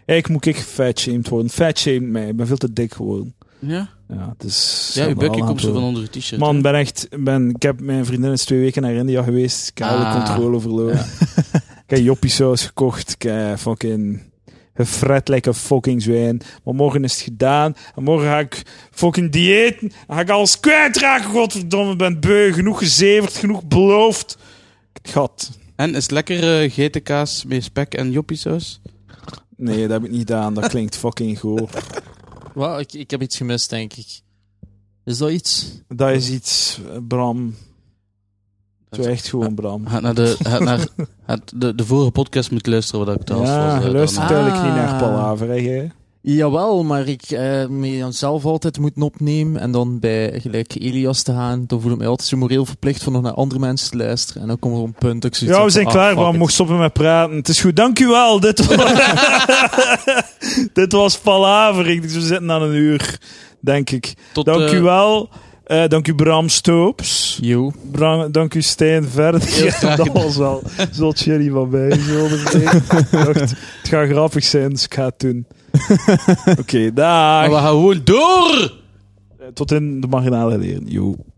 [SPEAKER 1] Eigenlijk moet ik fatshamed worden. Fatshamed mij, ik ben veel te dik geworden.
[SPEAKER 2] Ja?
[SPEAKER 1] Ja, het is...
[SPEAKER 2] Ja, uw bukje
[SPEAKER 1] allemaal
[SPEAKER 2] komt zo
[SPEAKER 1] aan
[SPEAKER 2] van
[SPEAKER 1] toe.
[SPEAKER 2] onder uw t-shirt.
[SPEAKER 1] Man, ben echt, ben, ik heb mijn vriendin is twee weken naar India geweest. Ik heb alle
[SPEAKER 2] Ah.
[SPEAKER 1] controle verloren. ik heb joppiesaus gekocht. Ik heb fucking gefret lekker fucking zwijn. Maar morgen is het gedaan. En morgen ga ik fucking diëten. En ga ik alles kwijtraken. Godverdomme, ik ben beu. Genoeg gezeverd, genoeg beloofd. Gat.
[SPEAKER 2] hè. En is het lekker eh geitenkaas met spek en joppiesaus?
[SPEAKER 1] Nee, dat heb ik niet gedaan. Dat klinkt fucking goor.
[SPEAKER 3] Wauw, ik, ik heb iets gemist, denk ik. Is dat iets?
[SPEAKER 1] Dat is iets, eh, Bram. Zo echt gewoon, Bram.
[SPEAKER 2] Gaat naar de, gaat naar, gaat de, de vorige podcast moeten luisteren wat ik te gast was.
[SPEAKER 1] Ja,
[SPEAKER 2] eh,
[SPEAKER 1] je
[SPEAKER 2] dan-
[SPEAKER 1] luistert
[SPEAKER 3] Ah.
[SPEAKER 1] duidelijk niet naar Palaver, hè, jij?
[SPEAKER 3] Jawel, maar ik eh, me dan zelf altijd moeten opnemen en dan bij gelijk Elias te gaan, dan voel ik me altijd zo moreel verplicht van nog naar andere mensen te luisteren. En dan komt er een punt dat ik zoiets
[SPEAKER 1] Ja, we
[SPEAKER 3] heb van,
[SPEAKER 1] zijn
[SPEAKER 3] ah,
[SPEAKER 1] klaar,
[SPEAKER 3] fuck
[SPEAKER 1] Bram.
[SPEAKER 3] it.
[SPEAKER 1] Mocht stoppen met praten. Het is goed. Dank u wel. Dit was, Dit was Palaver. Ik- We zitten aan een uur, denk ik.
[SPEAKER 2] Tot,
[SPEAKER 1] Dank
[SPEAKER 2] eh,
[SPEAKER 1] u wel. Eh, dank u Bram Stoops.
[SPEAKER 3] Yo.
[SPEAKER 1] Bram, dank u Stijn Verder.
[SPEAKER 2] Heel graag
[SPEAKER 1] dat
[SPEAKER 2] gedaan.
[SPEAKER 1] was wel. Zult jullie van mij zullen betekenen. Ik dacht, Het gaat grappig zijn, dus ik ga het doen. Oké,
[SPEAKER 2] Maar we
[SPEAKER 1] dag. Eh,
[SPEAKER 2] gaan gewoon door!
[SPEAKER 1] Tot in de marginale leren. Joe.